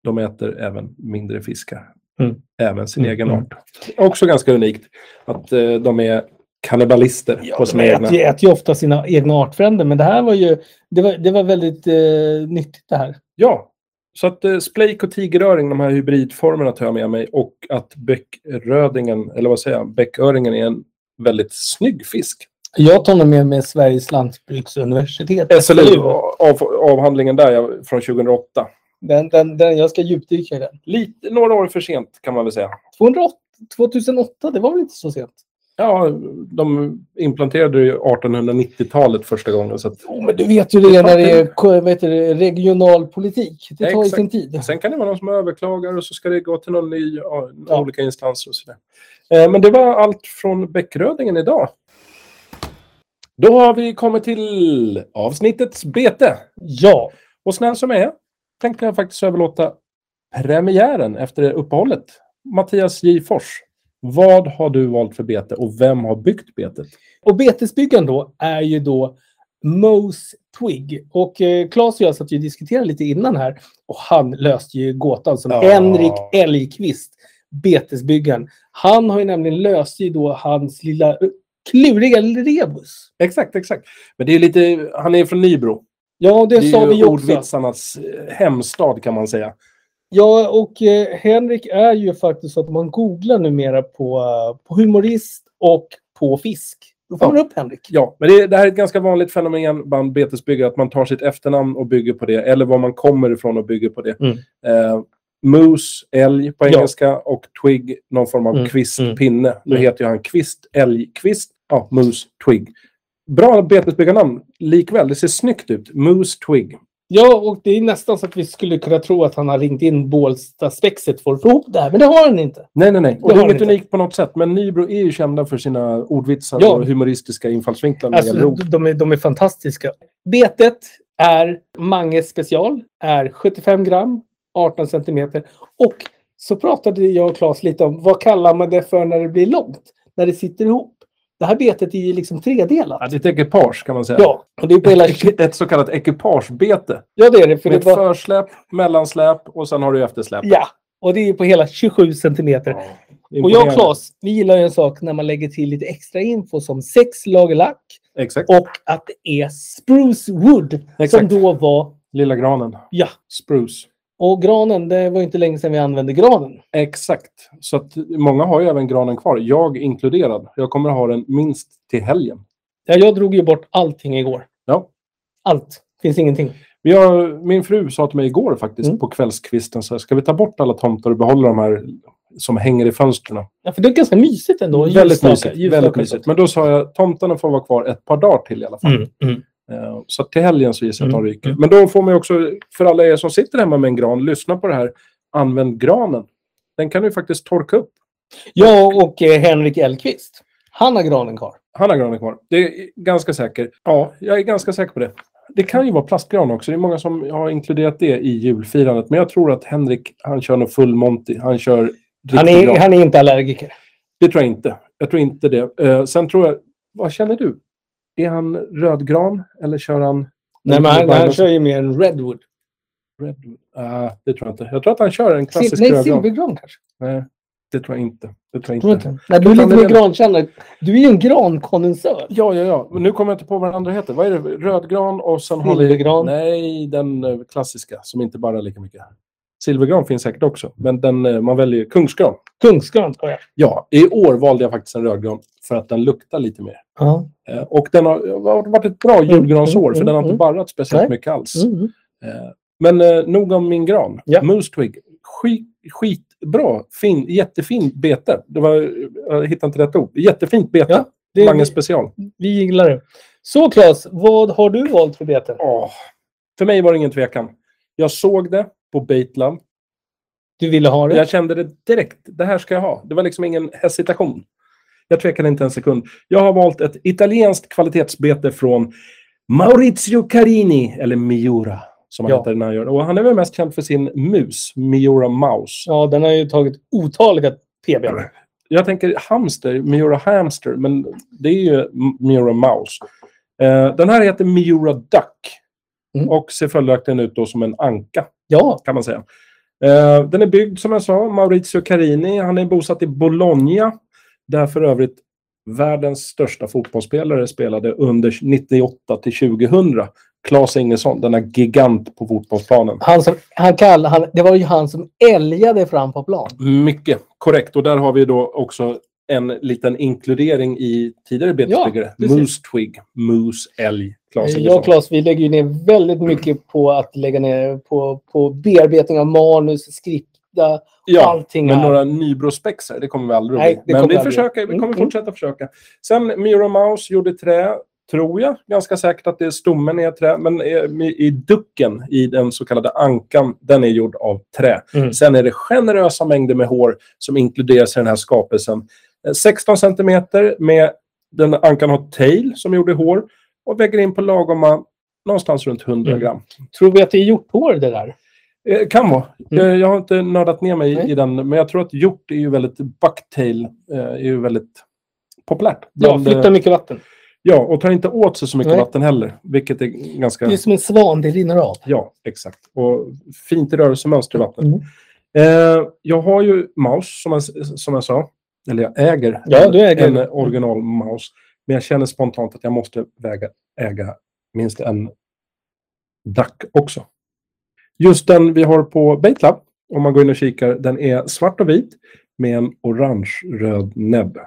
De äter även mindre fiskar.
Mm.
Även sin
Mm,
egen
mm.
art. Också ganska unikt att eh, de är kannibalister på sina
de
egna.
äter, ju- äter ju ofta sina egna artfränder, men det här var ju... Det var, det var väldigt eh, nyttigt det här.
Ja, så att eh, splake och tigeröring, de här hybridformerna tar jag med mig. Och att bäckrödingen, eller vad säger jag, bäcköringen är en väldigt snygg fisk.
Jag tar nog med mig Sveriges lantbruksuniversitet.
SLU, av, avhandlingen där ja, från 2008.
Den, den, den, jag ska djupdyka i den.
Lite, några år för sent kan man väl säga.
208, 2008, det var väl inte så sent?
Ja, de implanterade det ju 1890-talet första gången. Så att,
Jo, men du vet ju det när det är ko- vad heter det, regional politik. Det tar ju
Exakt.
sin tid.
sen kan det vara någon som överklagar och så ska det gå till någon ny, ja,
Ja.
olika instanser och sådär. Eh, men det var allt från Bäckrödingen idag. Då har vi kommit till avsnittets bete.
Ja,
Och snäll som jag är tänkte jag faktiskt överlåta premiären efter det uppehållet. Mattias J. Fors, vad har du valt för bete och vem har byggt betet?
och betesbyggaren då är ju då Mose Twig. Och eh, Claes och jag satt ju och diskuterade lite innan här och han löste ju gåtan som
Ja.
Henrik Elgqvist, betesbyggaren. Han har ju nämligen löst ju då hans lilla eh, kluriga rebus.
Exakt, exakt. Men det är lite, han är från Nybro.
Ja, det,
är
sa vi ju också.
ordvitsarnas eh, hemstad kan man säga.
Ja, och eh, Henrik är ju faktiskt så att man googlar numera på, eh, på humorist och på fisk. Då får
Ja.
man upp Henrik.
Ja, men det, det här är ett ganska vanligt fenomen bland betesbyggare, att man tar sitt efternamn och bygger på det, eller var man kommer ifrån och bygger på det.
Mm.
Eh, moose, älg på
Ja.
engelska, och twig, någon form av
Mm,
kvist,
mm.
pinne. Nu
Mm.
heter ju han kvist, älg, kvist. Ja, moose, twig. Bra betesbyggarnamn likväl. Det ser snyggt ut. Moose, twig.
Ja, och det är nästan så att vi skulle kunna tro att han har ringt in Bålsta-spexet för att få ihop det här, men det har han inte.
Nej, nej, nej.
Det
Och det
har
är
ni
inget
inte.
unikt på något sätt, men Nybro är ju kända för sina ordvitsar
Ja.
och humoristiska infallsvinklar när det
Alltså,
gäller ord.
de, är, de är fantastiska. Betet är Manges special, är 75 gram, 18 centimeter. Och så pratade jag och Claes lite om vad kallar man det för när det blir långt, när det sitter ihop. Det här betet är ju liksom tredelat.
Ja, det är ett ekipage kan man säga.
Ja, och det är på hela...
Ett, ett så kallat ekipagebete.
Ja, det är det. För
Med
det
ett
var...
försläp, mellansläp och sen har du eftersläp.
Ja, och det är på hela 27 centimeter. Och jag och
Imponerande.
Claes, vi gillar ju en sak när man lägger till lite extra info som sex lager lack
Exakt.
och att det är spruce wood som
Exakt.
då var...
Lilla granen.
Ja,
Spruce.
och granen, det var ju inte länge sedan vi använde granen.
Exakt. Så att många har ju även granen kvar. Jag inkluderad. Jag kommer ha den minst till helgen.
Ja, jag drog ju bort allting igår.
Ja.
Allt. Finns ingenting.
Vi har, min fru sa till mig igår faktiskt
Mm.
på kvällskvisten så här, ska vi ta bort alla tomtar och behålla de här som hänger i fönstren?
Ja, för det är ganska mysigt ändå.
Väldigt
Ljusstakar-
mysigt.
ljusstakar
Väldigt
och
mysigt.
sånt.
Men då sa jag tomtarna får vara kvar ett par dagar till i alla fall.
Mm, mm.
Eh, Så till helgen så gissar jag att de
Mm,
ryker.
mm.
Men då får man ju också, för alla er som sitter hemma med en gran, lyssna på det här. Använd granen. Den kan du faktiskt torka upp.
Jag och eh, Henrik Elkvist. Han har granen kvar.
Han har granen kvar. Det är ganska säker. Ja, jag är ganska säker på det. Det kan ju vara plastgran också. Det är många som har inkluderat det i julfirandet. Men jag tror att Henrik, han kör nog full Monty. Han kör riktig
Han
gran.
är, han är inte allergiker.
Det tror jag inte. Jag tror inte det. Eh, sen tror jag... Vad känner du? Är han rödgran eller kör han...
Nej, men han,
Bara-
han kör ju mer en redwood.
Red... Ah, det tror jag inte. Jag tror att han kör en
Sil
klassisk
nej,
rödgran.
silvergran kanske.
Nej, det tror jag inte. Det tror jag
Tror du
inte.
inte? Nej, du är lite
Utan
mer
det-
grankännare. Du är ju en grankondensör.
Ja, ja, ja. Men nu kommer jag inte på vad den andra heter. Vad är det? Rödgran och sen har vi...
Silvergran.
Mm. Nej, den eh, klassiska som inte bara lika mycket. Silvergran finns säkert också, men den, eh, man väljer kungsgran.
Kungsgran tror jag.
Ja, i år valde jag faktiskt en rödgran för att den luktar lite mer.
Ja.
Eh, Och den har, det har varit ett bra julgransår, för den har inte barrat speciellt
Nej.
mycket alls.
Mm.
Eh, Men eh, nog om min gran.
Ja.
Moose Twig. Skit, skitbra. Fin, jättefint bete. Det var, jag hittar inte rätt ord. Jättefint bete.
Ja,
det
det-
är... special.
Vi gillar det. Så Claes, vad har du valt för bete?
Åh, För mig var det ingen tvekan. Jag såg det på Baitlab.
Du ville ha det?
Jag kände det direkt. Det här ska jag ha. Det var liksom ingen hesitation. Jag tvekade inte en sekund. Jag har valt ett italienskt kvalitetsbete från Maurizio Carini, eller Miura, som han
Ja.
heter när han gör det. Och han är väl mest känd för sin mus, Miura Mouse.
Ja, den har ju tagit otaliga PB.
Jag tänker hamster, Miura Hamster, men det är ju M- Miura Mouse. Eh, den här heter Miura Duck
Mm.
och ser följaktligen ut då som en anka.
Ja,
kan man säga. Eh, den är byggd, som jag sa, Maurizio Carini. Han är bosatt i Bologna, där för övrigt världens största fotbollsspelare spelade under 98 till 2000. Claes Ingesson, denna gigant på fotbollsplanen.
han som, han kall, han, det var ju han som älgade fram på plan.
Mycket korrekt. Och där har vi då också en liten inkludering i tidigare betesbyggare.
precis.
Moose Twig, Moose Älg, Claes
Jag
Ingesson.
och Claes, vi lägger ju ner väldigt mycket på att lägga ner på, på bearbetning av manus, skripta,
Ja,
allting.
Men
här.
några nybrospexar, det kommer vi aldrig
Nej,
bli.
det
Men
kommer
vi,
vi aldrig
försöker, vi
Mm,
kommer
mm.
fortsätta försöka. Sen Mira Mouse gjorde trä, tror jag. Ganska säkert att det är stommen i ett trä. Men eh, i i ducken, i den så kallade ankan, den är gjord av trä.
Mm.
Sen är det generösa mängder med hår som inkluderas i den här skapelsen. Eh, 16 centimeter med den ankan har tail som gjorde hår och väger in på lagoma någonstans runt 100
Mm.
gram.
Tror vi att det är gjort på det där?
Eh, kan vara.
Mm.
Jag, jag har inte nördat ner mig i-
Nej.
i den, men jag tror att hjort är ju väldigt... Bucktail eh, är ju väldigt populärt.
Ja,
bland, eh,
flyttar mycket vatten.
ja, och tar inte åt sig så mycket
Nej.
vatten heller, vilket är ganska...
Det är som en svan, det rinner av.
Ja, exakt. Och fint rörelsemönster i vattnet.
Mm.
Eh, jag har ju mouse, som jag, s- som jag sa. Eller jag äger,
Ja,
en-
du äger.
en original mouse. Men jag känner spontant att jag måste väga, äga minst en duck också. Just den vi har på Baitlab, om man går in och kikar, den är svart och vit med en orange-röd näbb.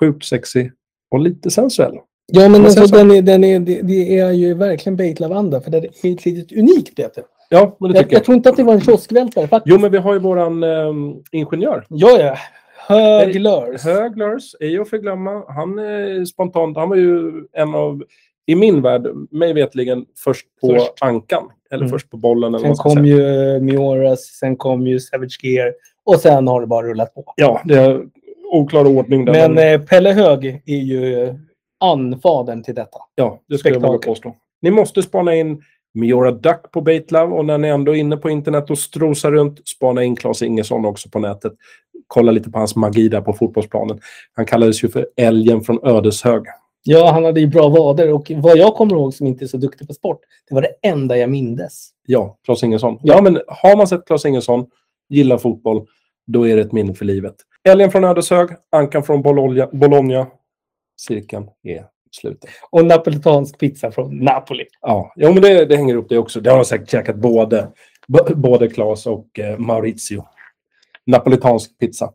Sjukt sexig och lite sensuell.
Ja, men
Men sen
alltså,
så-
den är, den är, det, det är ju verkligen Bait-lavanda, för det är ett litet unikt bete.
Ja, men det
Jag,
tycker jag.
jag tror inte att det var en kioskvältare faktiskt.
Jo, men vi har ju våran ehm, ingenjör.
Ja, ja. Höglörs.
Höglers är ju att förglömma. Han är spontant, han var ju en av, i min värld, mig vetligen först på
Först.
ankan. Eller
Mm.
först på bollen eller
Sen
vad man ska
kom
säga.
ju eh, Mioras, sen kom ju Savage Gear och sen har det bara rullat på.
Ja, det är oklar ordning där.
Men eh, Pelle Hög är ju eh, anfadern till detta.
ja, det skulle jag våga
spektakel.
påstå. Ni måste spana in Miora Duck på Baitlove och när ni ändå är inne på internet och strosar runt, spana in Claes Ingesson också på nätet. Kolla lite på hans magi där på fotbollsplanen. Han kallades ju för älgen från Ödeshög.
Ja, han hade ju bra vader och vad jag kommer ihåg som inte är så duktig på sport, det var det enda jag mindes.
Ja, Claes Ingesson. Ja, men har man sett Claes Ingesson, gillar fotboll, då är det ett minne för livet. Älgen från Ödeshög, ankan från Bologna, Bologna. Cirkeln är sluten.
Och napolitansk pizza från Napoli.
Ja, ja men det, det hänger upp det också. Det har de säkert käkat både, b- både Claes och eh, Maurizio. Napolitansk pizza.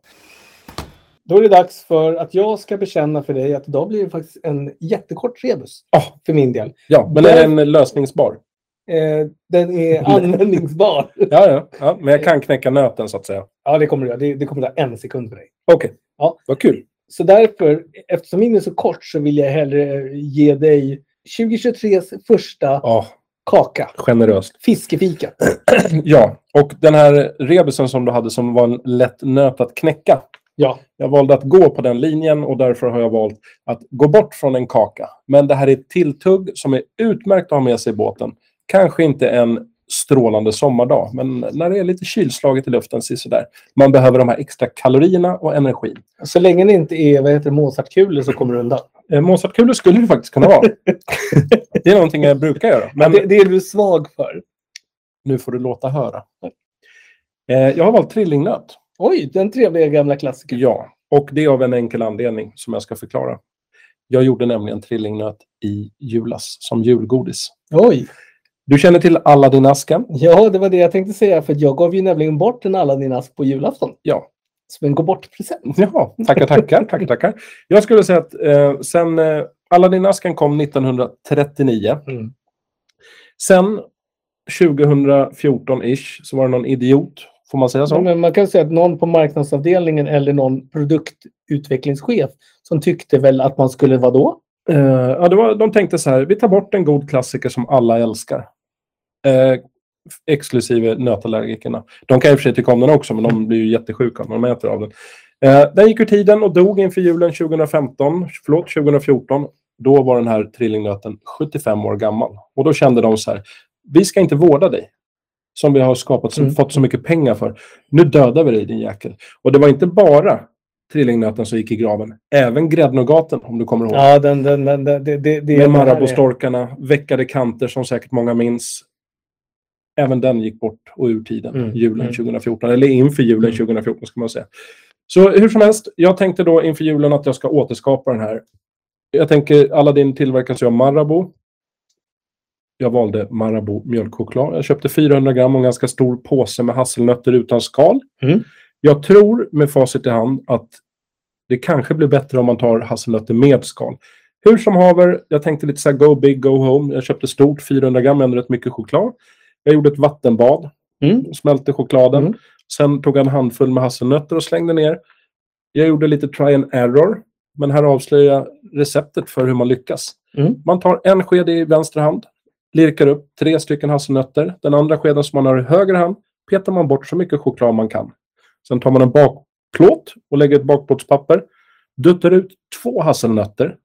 Då är det dags för att jag ska bekänna för dig att idag blir det faktiskt en jättekort rebus
Ja,
för min del.
ja, men är den lösningsbar?
Eh, den är användningsbar.
Ja, ja, ja, men jag kan knäcka nöten så att säga.
Ja, det kommer det göra. Det, det kommer ta en sekund för dig.
Okej,
Ja.
vad kul.
Så därför, eftersom min är så kort, så vill jag hellre ge dig 2023s första
Ja,
kaka.
Generöst.
Fiskefika.
Ja, och den här rebusen som du hade som var en lätt nöt att knäcka.
Ja.
Jag valde att gå på den linjen och därför har jag valt att gå bort från en kaka. Men det här är ett tilltugg som är utmärkt att ha med sig i båten. Kanske inte en strålande sommardag, men när det är lite kylslaget i luften, så är det sådär. Man behöver de här extra kalorierna och energin.
Så länge det inte är vad heter det, Mozartkulor så kommer du undan.
Eh, Mozartkulor skulle det faktiskt kunna vara. det är någonting jag brukar göra. Men
Det, det är du svag för.
nu får du låta höra. Eh, jag har valt trillingnöt.
Oj, den trevliga gamla klassikern.
Ja, och det av en enkel anledning som jag ska förklara. Jag gjorde nämligen trillingnöt i julas som julgodis.
Oj.
Du känner till Aladdin-asken?
Ja, det var det jag tänkte säga. För jag gav ju nämligen bort en Aladdin-ask på julafton.
Ja.
Som en gå bort-present.
Ja, tackar, tackar, tackar, tackar. Jag skulle säga att eh, sen eh, Aladdin-asken kom 1939.
Mm.
Sen 2014-ish så var det någon idiot, får man säga så?
Ja, men man kan säga att någon på marknadsavdelningen eller någon produktutvecklingschef som tyckte väl att man skulle vara då?
Eh, ja, det var, de tänkte så här, vi tar bort en god klassiker som alla älskar. Eh, exklusive nötallergikerna. De kan i och för sig tycka om den också, men de blir ju jättesjuka när de äter av den. Eh, den gick ur tiden och dog inför julen 2015, förlåt, 2014. Då var den här trillingnöten 75 år gammal. Och då kände de så här, vi ska inte vårda dig som vi har skapat, som
Mm.
fått så mycket pengar för. Nu dödar vi dig, din jäkel. Och det var inte bara trillingnöten som gick i graven, även gräddnogaten, om du kommer ihåg.
Ja, den, den, den, den, det, det,
Med
det det här är-
Marabostorkarna, veckade kanter som säkert många minns. Även den gick bort och ur tiden
Mm,
julen
mm.
2014, eller inför julen
Mm.
2014 ska man säga. Så hur som helst, jag tänkte då inför julen att jag ska återskapa den här. Jag tänker, Aladdin tillverkas ju av Marabou. Jag valde Marabou mjölkchoklad. Jag köpte 400 gram och en ganska stor påse med hasselnötter utan skal.
Mm.
Jag tror med facit i hand att det kanske blir bättre om man tar hasselnötter med skal. Hur som haver, jag tänkte lite så här go big, go home. Jag köpte stort, 400 gram, ändå rätt mycket choklad. Jag gjorde ett vattenbad,
Mm.
smälte chokladen.
Mm.
Sen tog jag en handfull med hasselnötter och slängde ner. Jag gjorde lite try and error, men här avslöjar jag receptet för hur man lyckas.
Mm.
Man tar en sked i vänster hand, lirkar upp tre stycken hasselnötter. Den andra skeden som man har i höger hand petar man bort så mycket choklad man kan. Sen tar man en bakplåt och lägger ett bakplåtspapper. Duttar ut två hasselnötter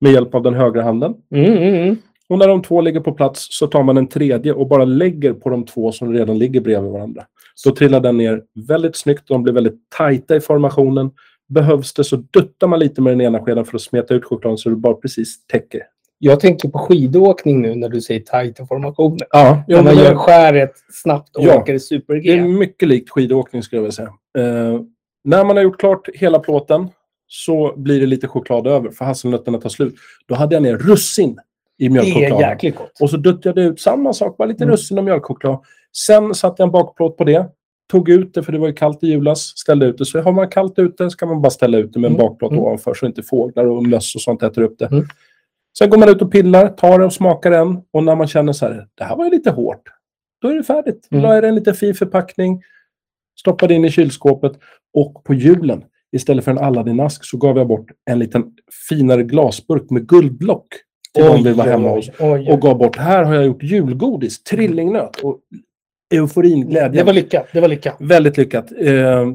med hjälp av den högra handen.
Mm, mm, mm.
Och när de två ligger på plats så tar man en tredje och bara lägger på de två som redan ligger bredvid varandra. Då trillar den ner väldigt snyggt. De blir väldigt tajta i formationen. Behövs det så duttar man lite med den ena skeden för att smeta ut chokladen så det bara precis täcker.
Jag tänker på skidåkning nu när du säger tight i formationen.
Ja,
När man gör skäret snabbt och
Ja.
åker i
Det är
super-G.
mycket likt skidåkning skulle jag vilja säga. Eh, när man har gjort klart hela plåten så blir det lite choklad över för hasselnötterna tar slut. Då hade jag ner russin i
Det är
mjölkchokladen.
jäkligt gott.
Och så duttade jag ut samma sak, bara lite
Mm.
russin och mjölkchoklad. Sen satte jag en bakplåt på det. Tog ut det, för det var ju kallt i julas. Ställde ut det. Så har man kallt ute ska man bara ställa ut det med en
Mm.
bakplåt
Mm.
ovanför så inte fåglar och möss och sånt äter upp det.
Mm.
Sen går man ut och pillar, tar det och smakar den. Och när man känner så här, det här var ju lite hårt. Då är det färdigt.
Mm.
Då är det en lite fin förpackning. Stoppade in i kylskåpet. Och på julen, istället för en Aladdin-ask, så gav jag bort en liten finare glasburk med guldlock till de vi var hemma hos
oj, oj.
och gav bort. Här har jag gjort julgodis,
Mm.
trillingnöt och euforin, glädjen.
Det var lyckat. Det var lyckat.
Väldigt lyckat. Eh,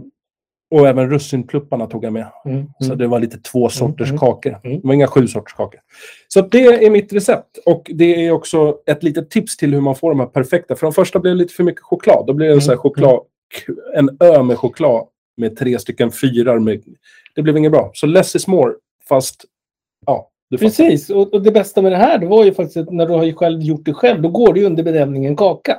och även russinplupparna tog jag med.
Mm.
Så
Mm.
det var lite två sorters
Mm, mm,
kakor.
mm.
Det var inga sju sorters kakor. Så att det är mitt recept. Och det är också ett litet tips till hur man får de här perfekta. För de första blev lite för mycket choklad. Då blev det en, så här
Mm,
choklad, en ö med choklad med tre stycken fyrar. Med, det blev inget bra. Så less is more, fast ja, du fattar.
Precis. Och, och det bästa med det här det var ju faktiskt att när du har ju själv gjort det själv, då går det ju under benämningen kaka.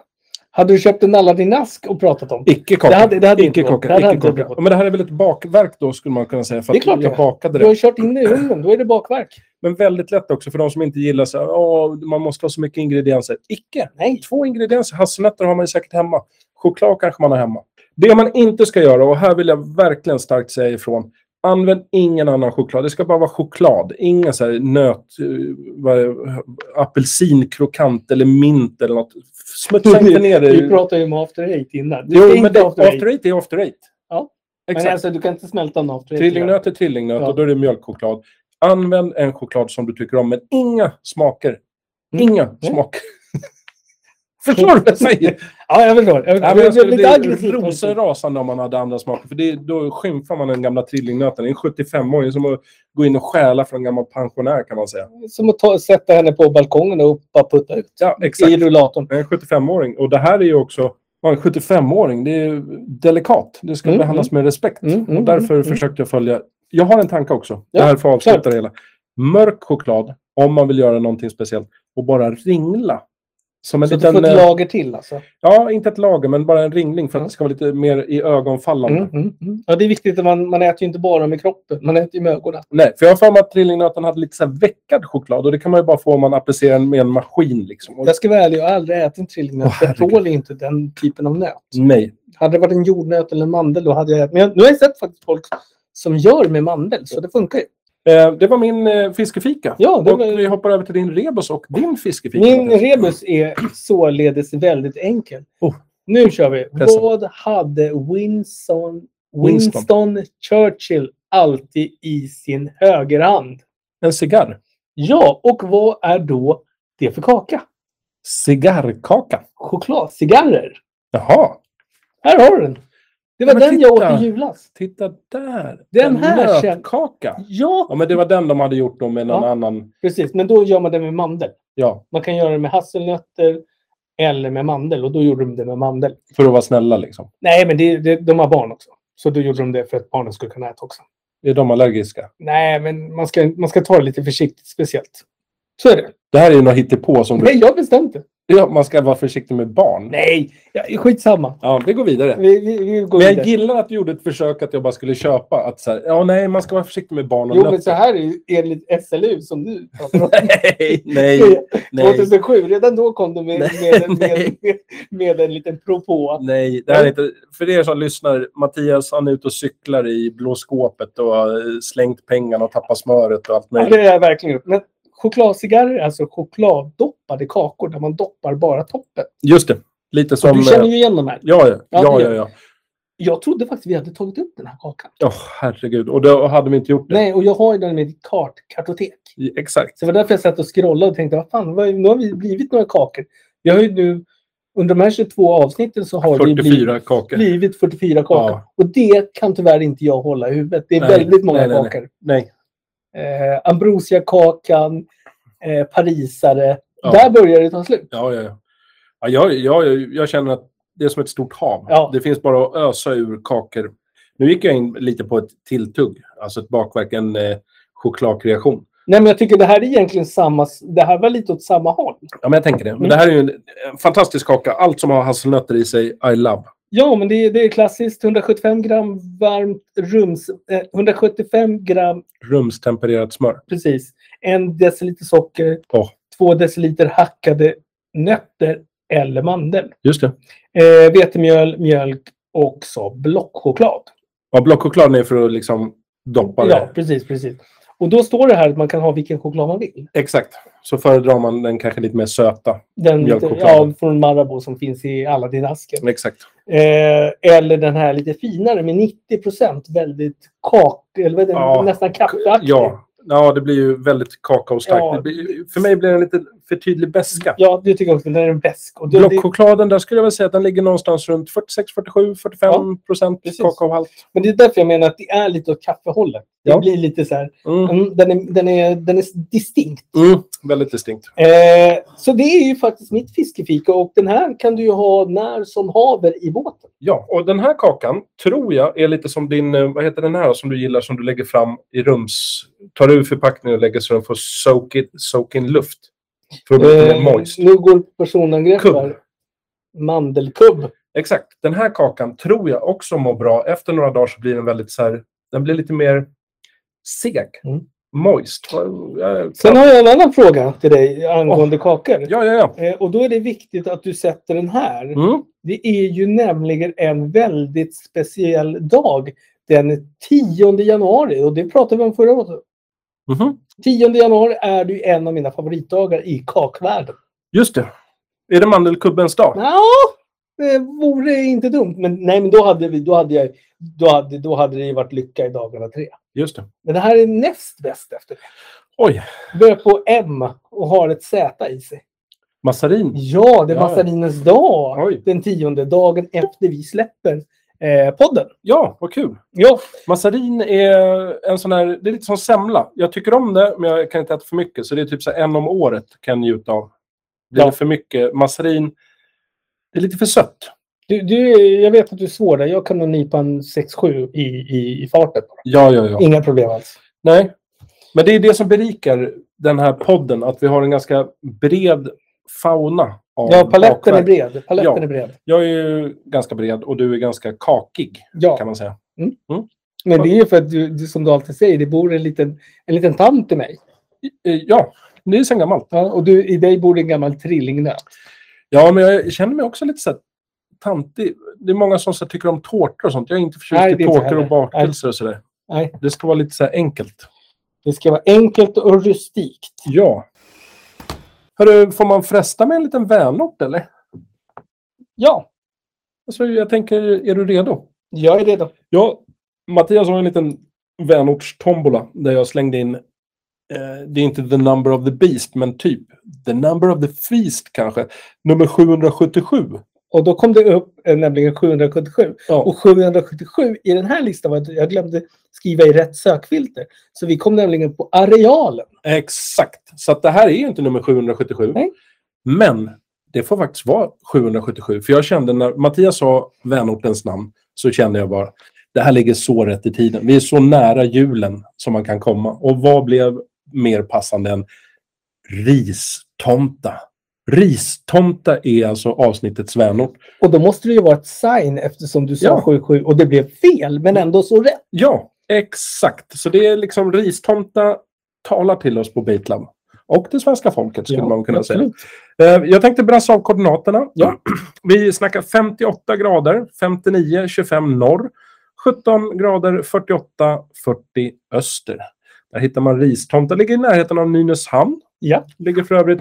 Hade du köpt en Aladdin-ask och pratat om det?
Icke kaka.
Det hade- det hade inte
icke
gått. Det
kaka.
hade
Icke
inte
kaka.
gått.
Men det här är väl ett bakverk då skulle man kunna säga. För
Det är
att
klart
jag
det.
bakade
Du har
det.
ju kört in det i ugnen, då är det bakverk.
Men väldigt lätt också för de som inte gillar så här, "Åh, man måste ha så mycket ingredienser. Icke.
Nej.
Två ingredienser. Hasselnötter har man ju säkert hemma. Choklad kanske man har hemma. Det man inte ska göra, och här vill jag verkligen starkt säga ifrån. Använd ingen annan choklad. Det ska bara vara choklad. Ingen så här nöt, eh, vad är det? apelsinkrokant eller mint eller något. Smutsa inte ner det.
Vi pratade ju om after eight innan. Du
Jo,
ska
men
inte
det,
after eight.
after eight är after eight.
Ja.
Exakt.
Men alltså, du kan inte smälta en after eight.
Trillingnöt är trillingnöt
Ja.
och då är det mjölkchoklad. Använd en choklad som du tycker om, men inga smaker.
Mm.
Inga
Nej.
smaker. Förstår du vad jag säger?
Ja, jag förstår. Jag,
Nej,
jag,
men
jag
jag
blev
skulle,
lite
det
aggressiv.
är rosor rasande om man hade andra smaker. För det, då skymfar man den gamla trillingnöten. Det är en 75-åring som att gå in och stjäla från en gammal pensionär kan man säga.
Som att ta, sätta henne på balkongen och bara putta ut.
Ja, exakt.
I rullatorn.
En 75-åring. Och det här är ju också... Ja, en 75-åring, det är ju delikat. Det ska
Mm,
behandlas med respekt.
Mm, mm,
och därför
mm,
försökte jag följa... Jag har en tanke också.
Ja,
det här får avsluta
klart.
det hela. Mörk choklad, om man vill göra någonting speciellt. Och bara ringla. Som en
Så att du
liten...
får ett
eh,
lager till alltså.
Ja, inte ett lager, men bara en ringling för att
Ja.
det ska vara lite mer i ögonfallande.
Mm, mm, mm. Ja, det är viktigt. att Man, man äter ju inte bara med kroppen. Man äter ju med ögonen.
Nej, för jag har för mig att trillingnöten hade lite så här veckad choklad och det kan man ju bara få om man applicerar den med en maskin. Liksom. Och,
Jag ska vara ärlig, jag har aldrig ätit en trillingnöt.
Åh,
jag
herregud.
tål inte den typen av nöt.
Nej.
Hade det varit en jordnöt eller en mandel då hade jag ätit. Men jag, nu har jag sett faktiskt folk som gör med mandel, så det funkar ju.
Eh, det var min eh, fiskefika.
Ja, det
och
var-
vi hoppar över till din rebus och din fiskefika.
Min rebus är således väldigt enkel.
Oh.
Nu kör vi.
Pressa.
Vad hade Winston,
Winston.
Winston Churchill alltid i sin högerhand?
En cigarr.
Ja, och vad är då det för kaka?
Cigarrkaka.
Chokladcigarrer.
Jaha.
Här har du den. Det var
Men
den jag
titta.
åt i julas.
Titta där.
Den
en
här kän-
Nötkaka.
Ja,
Ja, men det var den de hade gjort då med någon
Ja.
annan.
precis. Men då gör man det med mandel.
Ja,
Man kan göra det med hasselnötter eller med mandel. Och då gjorde de det med mandel.
för att vara snälla liksom.
Nej, men det, det, de har barn också. Så då gjorde de det för att barnen skulle kunna äta också.
Är de allergiska?
Nej, men man ska, man ska ta det lite försiktigt speciellt. Så är det.
Det här är ju något hittepå som du...
Nej, jag bestämde.
Ja, man ska vara försiktig med barn.
Nej, ja, skitsamma.
Ja, vi går vidare.
Vi, vi, vi går
Men jag
vidare.
gillar att du gjorde ett försök att jag bara skulle köpa. Att så här, ja, nej, man ska vara försiktig med barn och
Jo,
nötter.
men så här är ju enligt SLU som du pratar om.
Nej, nej, nej.
2007, redan då kom du med, med, med, med,
Nej.
med, en liten propå.
Nej, det här är inte, för er som lyssnar, Mattias han är ute och cyklar i blå skåpet och har eh, slängt pengarna och tappat smöret och allt
Ja,
möjligt.
det är jag verkligen gjort. Men chokladcigarrer är alltså chokladdoppade kakor där man doppar bara toppen.
Just det, lite som...
du känner
eh,
ju igen de här.
Ja, ja, ja.
Ja, det
ja,
gör
ja.
Jag trodde faktiskt vi hade tagit upp den här kakan.
Åh, herregud. Och då hade vi inte gjort det.
Nej, och jag har ju den i mitt kartkartotek.
I- Exakt.
Så det var därför jag satt och scrollade och tänkte, vad fan, vad, nu har vi blivit några kakor. Vi har ju nu, under de här 22 avsnitten så har vi
44
blivit,
kakor.
blivit 44 kakor.
Ja.
Och det kan tyvärr inte jag hålla i huvudet. Det är
Nej,
väldigt många
nej, nej, nej.
kakor.
Nej.
Eh, Ambrosiakakan, eh, Parisare.
Ja.
Där börjar det ta slut.
Ja, ja, ja. ja jag, jag, jag känner att det är som ett stort hav.
Ja.
Det finns bara att ösa ur kakor. Nu gick jag in lite på ett tilltugg, alltså ett bakverk, en eh, chokladkreation.
Nej, men jag tycker det här är egentligen samma, det här var lite åt samma håll.
Ja, men jag tänker det. Men
Mm.
det här är ju en, en fantastisk kaka. Allt som har hasselnötter i sig, I love.
Ja, men det är, det är klassiskt. 175 gram varmt rums... Eh, 175 gram,
Rumstempererat smör.
precis. En deciliter socker.
Ja.
Två deciliter hackade nötter eller mandel.
Just det.
Eh, vetemjöl, mjölk och så blockchoklad.
Ja, blockchokladen är för att liksom doppa det.
Ja, precis, precis. Och då står det här att man kan ha vilken choklad man vill.
Exakt. Så föredrar man den kanske lite mer söta.
Den lite,
Mjölkchokladen.
ja, från Marabou som finns i alla din asken.
Exakt.
Eh, eller den här lite finare med 90 väldigt kak... Eller vad är det?
Ja.
Nästan kaffeaktig.
Ja. Ja, det blir ju väldigt kakaostarkt.
Ja.
Det blir, för mig blir det en lite för tydlig beska.
Ja, det tycker jag också. Den är en bäsk. Och det, det,
Blockchokladen, där skulle jag väl säga att den ligger någonstans runt 46, 47, 45 procent
precis.
kakaohalt.
men det är därför jag menar att det är lite åt kaffehållet. Det
Ja.
blir lite så här,
Mm.
mm, den, är, den, är, den är distinkt.
Mm. Väldigt distinkt.
Eh, så det är ju faktiskt mitt fiskefika och den här kan du ju ha när som haver i båten.
Ja, och den här kakan tror jag är lite som din, eh, vad heter den här då, som du gillar som du lägger fram i rums, tar ur förpackningen och lägger så den får soak, it, soak in luft. För att bli lite mer
Eh,
moist.
nu går personangrepp
Kubb.
här. Mandelkubb.
Exakt. Den här kakan tror jag också mår bra. Efter några dagar så blir den väldigt så här, den blir lite mer seg.
Mm.
Moist. Eh, eh,
Sen har jag en annan fråga till dig angående kakor.
Ja, ja, ja.
Eh, och då är det viktigt att du sätter den här.
Mm.
Det är ju nämligen en väldigt speciell dag. Den 10 januari och det pratade vi om förra året.
Mhm.
10 januari är det ju en av mina favoritdagar i kakvärlden.
Just det. Är det mandelkubbens dag?
Ja, det vore inte dumt. Men nej, men då hade, vi, då hade, jag, då hade, då hade det ju varit lycka i dagarna tre.
Just det.
Men det här är näst bäst efter.
Oj.
Börjar på M och har ett Z i sig.
Massarin?
Ja, det är
Ja.
massarinens dag.
Oj.
Den tionde dagen efter vi släpper eh, podden.
Ja, vad kul.
Ja,
Massarin är en sån här, det är lite som semla. Jag tycker om det, men jag kan inte äta för mycket. Så det är typ så här en om året kan jag njuta av. Blir
Ja.
det för mycket massarin, det är lite för sött.
du, du, jag vet att du är svår där. Jag kan nog nypa en 6-7 i, i, i farten.
Ja, ja, ja.
Inga problem alls.
Nej, men det är det som berikar den här podden. Att vi har en ganska bred fauna. Av
Ja, paletten
bakverk.
är bred. Paletten
Ja.
är bred.
Jag är ju ganska bred och du är ganska kakig,
Ja,
kan man säga.
men det är ju för att du, du, som du alltid säger, det bor en liten, en liten tant i mig.
I- eh, Ja, det är sen gammalt.
Ja, och du, i dig bor det en gammal trillingnöt.
Ja, men jag känner mig också lite så här tantig. Det är många som så här, tycker om tårtor och sånt. Jag är inte förtjust
Nej, det
i
är inte
tårtor och
heller.
bakelser och sådär.
Nej.
Det ska vara lite så här enkelt.
Det ska vara enkelt och rustikt.
Ja. Hörru, får man fresta med en liten vänort eller?
Ja,
Alltså, jag tänker, är du redo?
jag är redo.
Ja, Mattias har en liten vänortstombola där jag slängde in, eh, det är inte the number of the beast, men typ the number of the feast kanske. Nummer 777.
Och då kom det upp eh, nämligen 777.
Ja,
Och 777 i den här listan var att jag glömde skriva i rätt sökfilter. Så vi kom nämligen på arealen.
exakt. Så att det här är ju inte nummer 777.
Nej.
Men det får faktiskt vara 777. För jag kände när Mattias sa vänortens namn så kände jag bara det här ligger så rätt i tiden. Vi är så nära julen som man kan komma. Och vad blev mer passande än ristomta? Ristomta är alltså avsnittets vänort.
Och då måste det ju vara ett sign eftersom du sa
Ja.
77 och det blev fel men ändå så rätt.
Ja, exakt. Så det är liksom ristomta talar till oss på Baitlab. Och det svenska folket skulle man kunna säga.
absolut.
Eh, Jag tänkte brassa av koordinaterna.
Ja.
Vi snackar 58 grader, 59, 25 norr, 17 grader, 48, 40 öster. Där hittar man Ristomta. Ligger i närheten av Nynäshamn.
Ja.
Ligger för övrigt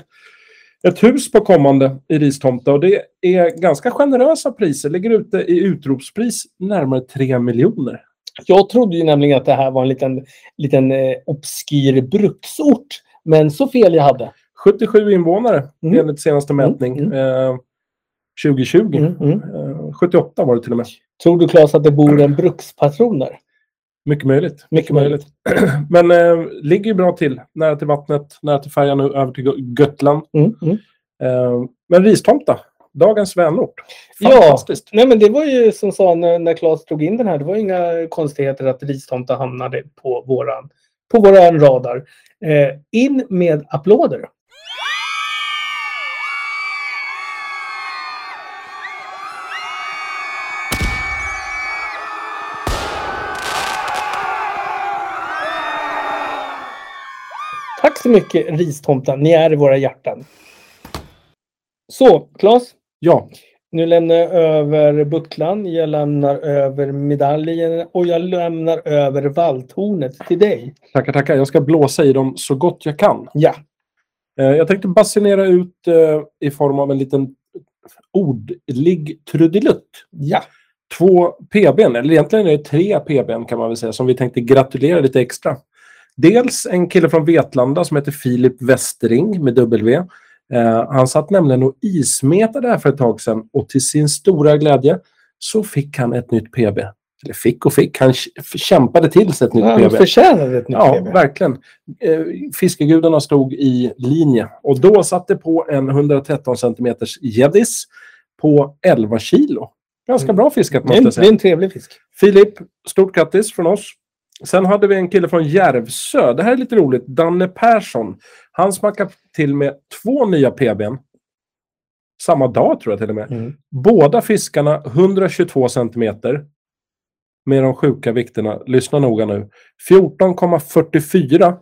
ett hus på kommande i Ristomta och det är ganska generösa priser. Ligger ute i utropspris närmare 3 miljoner.
Jag trodde ju nämligen att det här var en liten, liten eh, obskyr bruksort. Men så fel jag hade.
77 invånare
Mm.
enligt senaste
Mm,
mätning. Eh, 2020.
Mm, mm.
Eh, 78 var det till och med.
Tror du Claes att det bor en brukspatron där?
Mycket möjligt.
Mycket möjligt.
Men eh, ligger ju bra till. Nära till vattnet, nära till färjan och över till Gö- Götland.
Mm, mm.
Eh, men Ristomta, dagens vänort.
Ja.
Fantastiskt.
Nej men det var ju som sa när, när Claes drog in den här. Det var inga konstigheter att ristomta hamnade på våran, på våran radar. Eh, in med applåder. Tack så mycket ristomta. Ni är i våra hjärtan. Så Claes.
Ja.
Nu lämnar jag över bucklan, jag lämnar över medaljen och jag lämnar över valthornet till dig.
tackar, tackar. Jag ska blåsa i dem så gott jag kan.
Ja.
Eh, jag tänkte basinera ut eh, i form av en liten ordlig trudelutt.
Ja.
två PBn, eller egentligen är det tre PBn kan man väl säga, som vi tänkte gratulera lite extra. Dels en kille från Vetlanda som heter Filip Westring med W. Eh, han satt nämligen och ismetade här för ett tag sedan och till sin stora glädje så fick han ett nytt PB. Eller fick och fick, han k- kämpade till sig ett nytt
Han
PB.
förtjänade ett nytt
Ja,
PB.
verkligen. Eh, Fiskegudarna stod i linje och då satte på en 113 centimeters gäddis på 11 kilo. Ganska
Mm.
bra fiskat
Det är, en,
måste jag
det är
säga.
en trevlig fisk.
Filip, stort grattis från oss. Sen hade vi en kille från Järvsö. Det här är lite roligt. Danne Persson. Han smackade till med två nya PBn. Samma dag tror jag till och med.
Mm.
Båda fiskarna 122 centimeter. Med de sjuka vikterna, lyssna noga nu. 14,44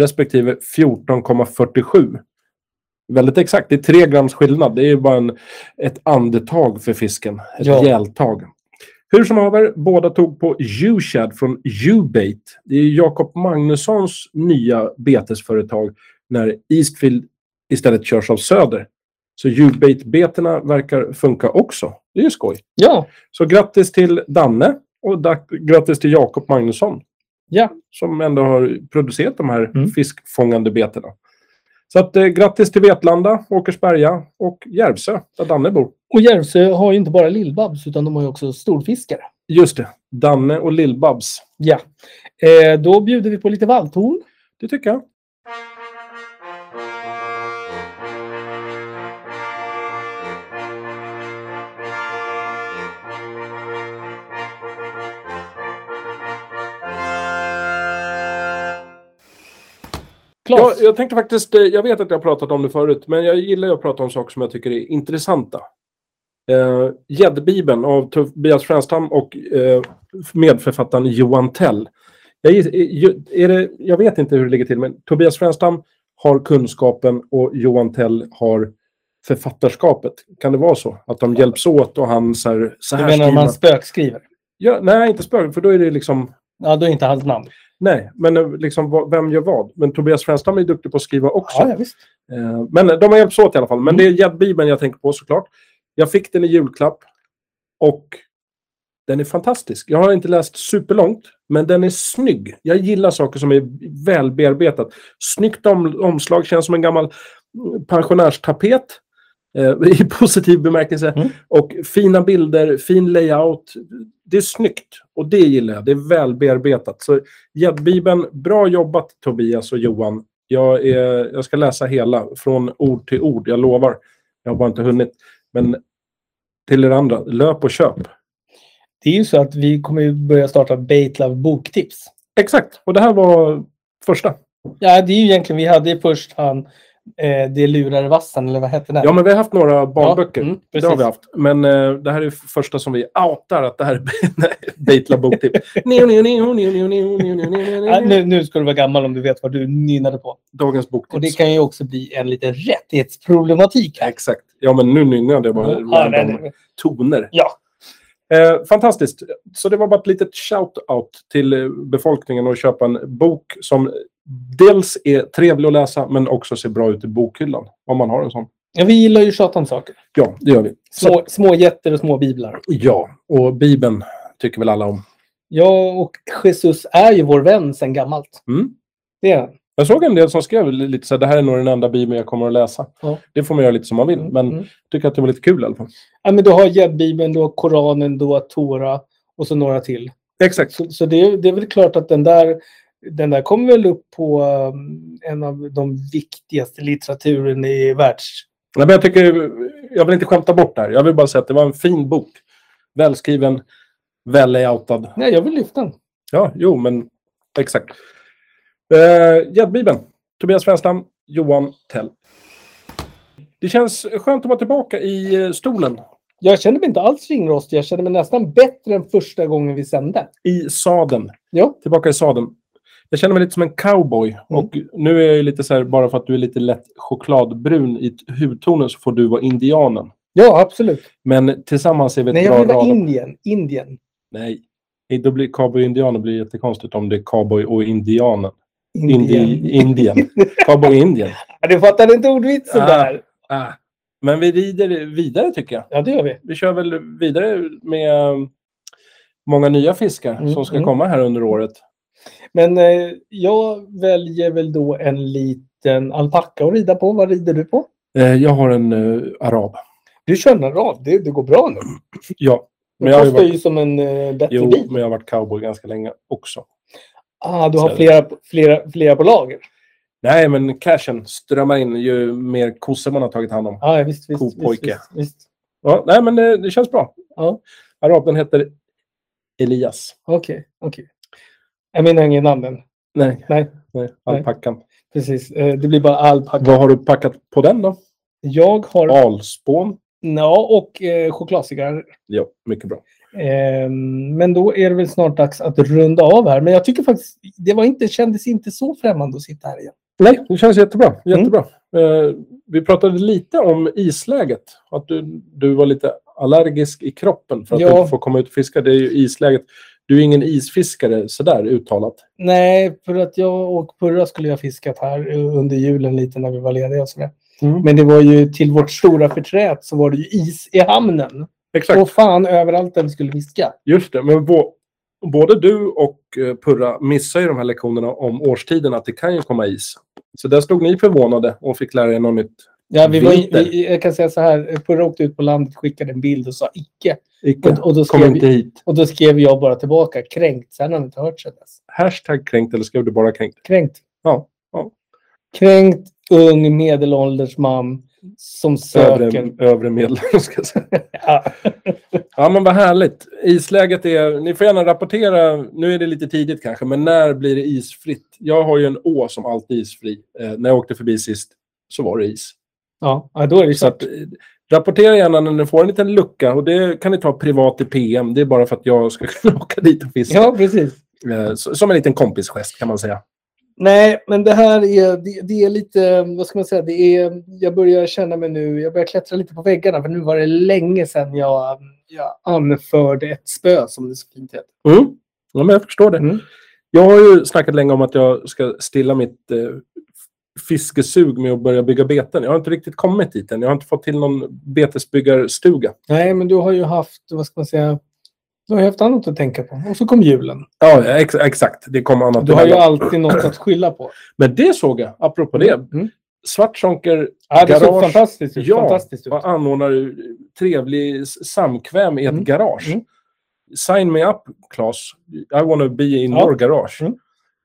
respektive 14,47. Väldigt exakt, det är tre grams skillnad. Det är ju bara en, ett andetag för fisken. Ett
Ja.
gältag. Hur som haver, båda tog på Ushad från Ubait. Det är Jakob Magnussons nya betesföretag när Eastfield istället körs av Söder. Så djurbaitbetena verkar funka också. Det är ju skoj.
Ja,
Så grattis till Danne och da- grattis till Jakob Magnusson.
Ja.
Som ändå har producerat de här
Mm.
fiskfångande betena. Så att, eh, grattis till Vetlanda, Åkersberga och Järvsö, där Danne bor.
Och Järvsö har ju inte bara Lill-Babs utan de har ju också storfiskare.
Just det, Danne och Lill-Babs.
Ja. Eh, då bjuder vi på lite valthorn.
Det tycker jag.
Klas.
Jag, jag tänkte faktiskt, eh, jag vet att jag har pratat om det förut, men jag gillar ju att prata om saker som jag tycker är intressanta. Eh, Gäddbibeln av Tobias Frändstam och eh, medförfattaren Johan Tell. Jag, giss- eh, ju- är det, jag vet inte hur det ligger till, men Tobias Frändstam har kunskapen och Johan Tell har författarskapet. Kan det vara så? Att de hjälps åt och han så här, så
Du
här
menar om
skriver
han spökskriver?
ja, Nej, inte spöken, för då är det liksom
Ja, då är inte hans namn.
Nej, men eh, liksom, vad- vem gör vad? Men Tobias Frändstam är duktig på att skriva också.
Ja, ja, visst.
Eh, Men de har hjälpts åt i alla fall. Men det är Gäddbibeln jag tänker på såklart. Jag fick den i julklapp och den är fantastisk. Jag har inte läst superlångt, men den är snygg. Jag gillar saker som är välbearbetat. Snyggt om, omslag, känns som en gammal mm, pensionärstapet eh, i positiv bemärkelse.
Mm.
Och fina bilder, fin layout. Det är snyggt och det gillar jag. Det är välbearbetat. Så Gäddbibeln, bra jobbat Tobias och Johan. Jag, är, jag ska läsa hela, från ord till ord, jag lovar. Jag har bara inte hunnit. Men till er andra, löp och köp.
Det är ju så att vi kommer ju börja starta Baitlove boktips.
Exakt, och det här var första.
Ja, det är ju egentligen, vi hade ju först han, eh, Det lurar i vassen, eller vad hette den?
Ja, men vi har haft några barnböcker.
Ja, mm,
det har
precis.
vi haft. Men eh, det här är första som vi outar att det här är nej, Beitla boktipp. Neo, neo, neo, neo, neo, neo, neo, neo, neo,
Ja,
neo.
nu, nu ska du vara gammal om du vet vad du nynnade på.
Dagens
Och det
boktips.
kan ju också bli en liten rättighetsproblematik här.
Exakt. Ja, men nu nynnade jag bara
Ja, nej,
random
nej.
toner.
Ja.
Eh, fantastiskt. Så det var bara ett litet shout-out till eh, befolkningen att köpa en bok som dels är trevlig att läsa men också ser bra ut i bokhyllan. Om man har en sån.
Ja, vi gillar ju att tjata om saker.
Ja, det gör vi. Så,
Små, små jätter och små biblar.
ja, och Bibeln tycker väl alla om.
Ja, och Jesus är ju vår vän sedan gammalt.
Mm.
Det är han.
Jag såg en del som skrev lite så här, det här är nog den enda Bibeln jag kommer att läsa.
Ja.
Det får man göra lite som man vill, men
Mm.
tycker att det var lite kul i alla fall.
Ja, men du har Jed-bibeln, du har Koranen, du har Tora och så några till.
Exakt.
Så, så det, är- det är väl klart att den där, den där kom väl upp på um, en av de viktigaste litteraturen i världs...
Nej, men jag, tycker, jag vill inte skämta bort det här. Jag vill bara säga att det var en fin bok. Välskriven, väl layoutad.
Nej, jag vill lyfta den.
Ja, jo, men exakt. Eh, Gäddbibeln. Tobias Svenstam, Johan Tell. Det känns skönt att vara tillbaka i eh, stolen.
Jag kände mig inte alls ringrostig. Jag kände mig nästan bättre än första gången vi sände.
I sadeln.
Ja,
Tillbaka i sadeln. Jag känner mig lite som en cowboy.
Mm.
Och nu är jag ju lite så här, bara för att du är lite lätt chokladbrun i t- hudtonen så får du vara indianen.
ja absolut.
Men tillsammans är vi ett
Nej, jag
bra
vill vara
radar.
Indien. Indien.
Nej. Nej, Då blir cowboy och indianer blir jättekonstigt om det är cowboy och indianen.
Indien.
Indi- Indien. Cowboy och indien.
Ja, du fattade inte ordvitsen
Ah.
där.
Ah. Men vi rider vidare tycker jag.
Ja, det gör vi.
Vi kör väl vidare med eh, många nya fiskar
Mm,
som ska
mm.
komma här under året.
Men eh, jag väljer väl då en liten alpacka att rida på. Vad rider du på?
Eh, jag har en eh, arab.
Du kör en Arav. Det, det går bra nu.
Ja.
Det
Men jag, har ju
kostar
varit,
ju som en eh, bättre
jo,
bil.
men jag har varit cowboy ganska länge också.
Ah, du
Så-
har flera, flera, flera på lager.
Nej, men cashen strömmar in ju mer kossor man har tagit hand om.
Ah, ja, visst, visst,
Cool
visst,
pojke.
Visst, visst.
Ja, nej, men eh, det, det känns bra.
Ja.
Araben heter Elias.
Okej, okej. Jag menar inget namn än.
Nej.
Nej.
nej alpackan.
Precis. Eh, det blir bara alpacka.
Vad har du packat på den då?
Jag har... Ja,
Alspån.
och eh, chokladcigarrer.
Ja, mycket bra.
Eh, men då är det väl snart dags att runda av här. Men jag tycker faktiskt... Det var inte, kändes inte så främmande att sitta här igen.
Nej, det känns jättebra. jättebra. Eh, vi pratade lite om isläget. Att du, du var lite allergisk i kroppen för att
Ja.
du inte får komma ut och fiska. Det är ju isläget. Du är ingen isfiskare sådär uttalat.
Nej, för att jag och Purra skulle jag fiskat här eh, under julen lite när vi var lediga och sådär.
Mm.
Men det var ju till vårt stora förträd så var det ju is i hamnen.
Exakt,
Och fan överallt där vi skulle fiska.
just det. Men vå, både du och eh, Purra missar ju de här lektionerna om årstiderna, att det kan ju komma is. Så där stod ni förvånade och fick lära er något nytt.
Ja, vi var,
Vinter.
vi, jag kan säga så här. eh, Purra åkte ut på landet, skickade en bild och sa icke.
Icke.
Och, och, då,
Kom
skrev,
inte hit.
och då skrev jag bara tillbaka kränkt. Sen har han inte hört sedan dess.
Hashtag kränkt eller skrev du bara kränkt?
Kränkt.
Ja, ja.
Kränkt ung medelålders man som söker.
Övre, övre medlem, ska jag säga.
Ja.
Ja, men vad härligt. Isläget är... Ni får gärna rapportera. Nu är det lite tidigt kanske, men när blir det isfritt? Jag har ju en å som alltid är isfri. Eh, när jag åkte förbi sist så var det is.
Ja, ja, då är det
Så
klart.
att, eh, rapportera gärna när ni får en liten lucka. Och det kan ni ta privat i PM. Det är bara för att jag ska kunna åka dit och fiska.
Ja, precis.
Eh, så- som en liten kompisgest kan man säga.
Nej, men det här är, det, det är lite, vad ska man säga, det är, jag börjar känna mig nu, jag börjar klättra lite på väggarna för nu var det länge sedan jag, jag anförde ett spö som det så fint heter.
Mm. Ja, men jag förstår det.
Mm.
Jag har ju snackat länge om att jag ska stilla mitt eh, fiskesug med att börja bygga beten. Jag har inte riktigt kommit dit än. Jag har inte fått till någon betesbyggarstuga.
Nej, men du har ju haft, vad ska man säga, du har ju haft annat att tänka på. Och så kom julen.
Ja, ex exakt. Det kommer annat.
Du har ju
emellan.
alltid något att skylla på.
Men det såg jag, apropå det.
Mm.
Svartzonker
Ja, det såg
Garage.
fantastiskt ut.
Ja.
Fantastiskt ut.
anordnar eh, trevlig s- samkväm i ett
Mm.
garage.
Mm.
Sign me up, Claes. I wanna be in
Ja.
your garage.
Mm.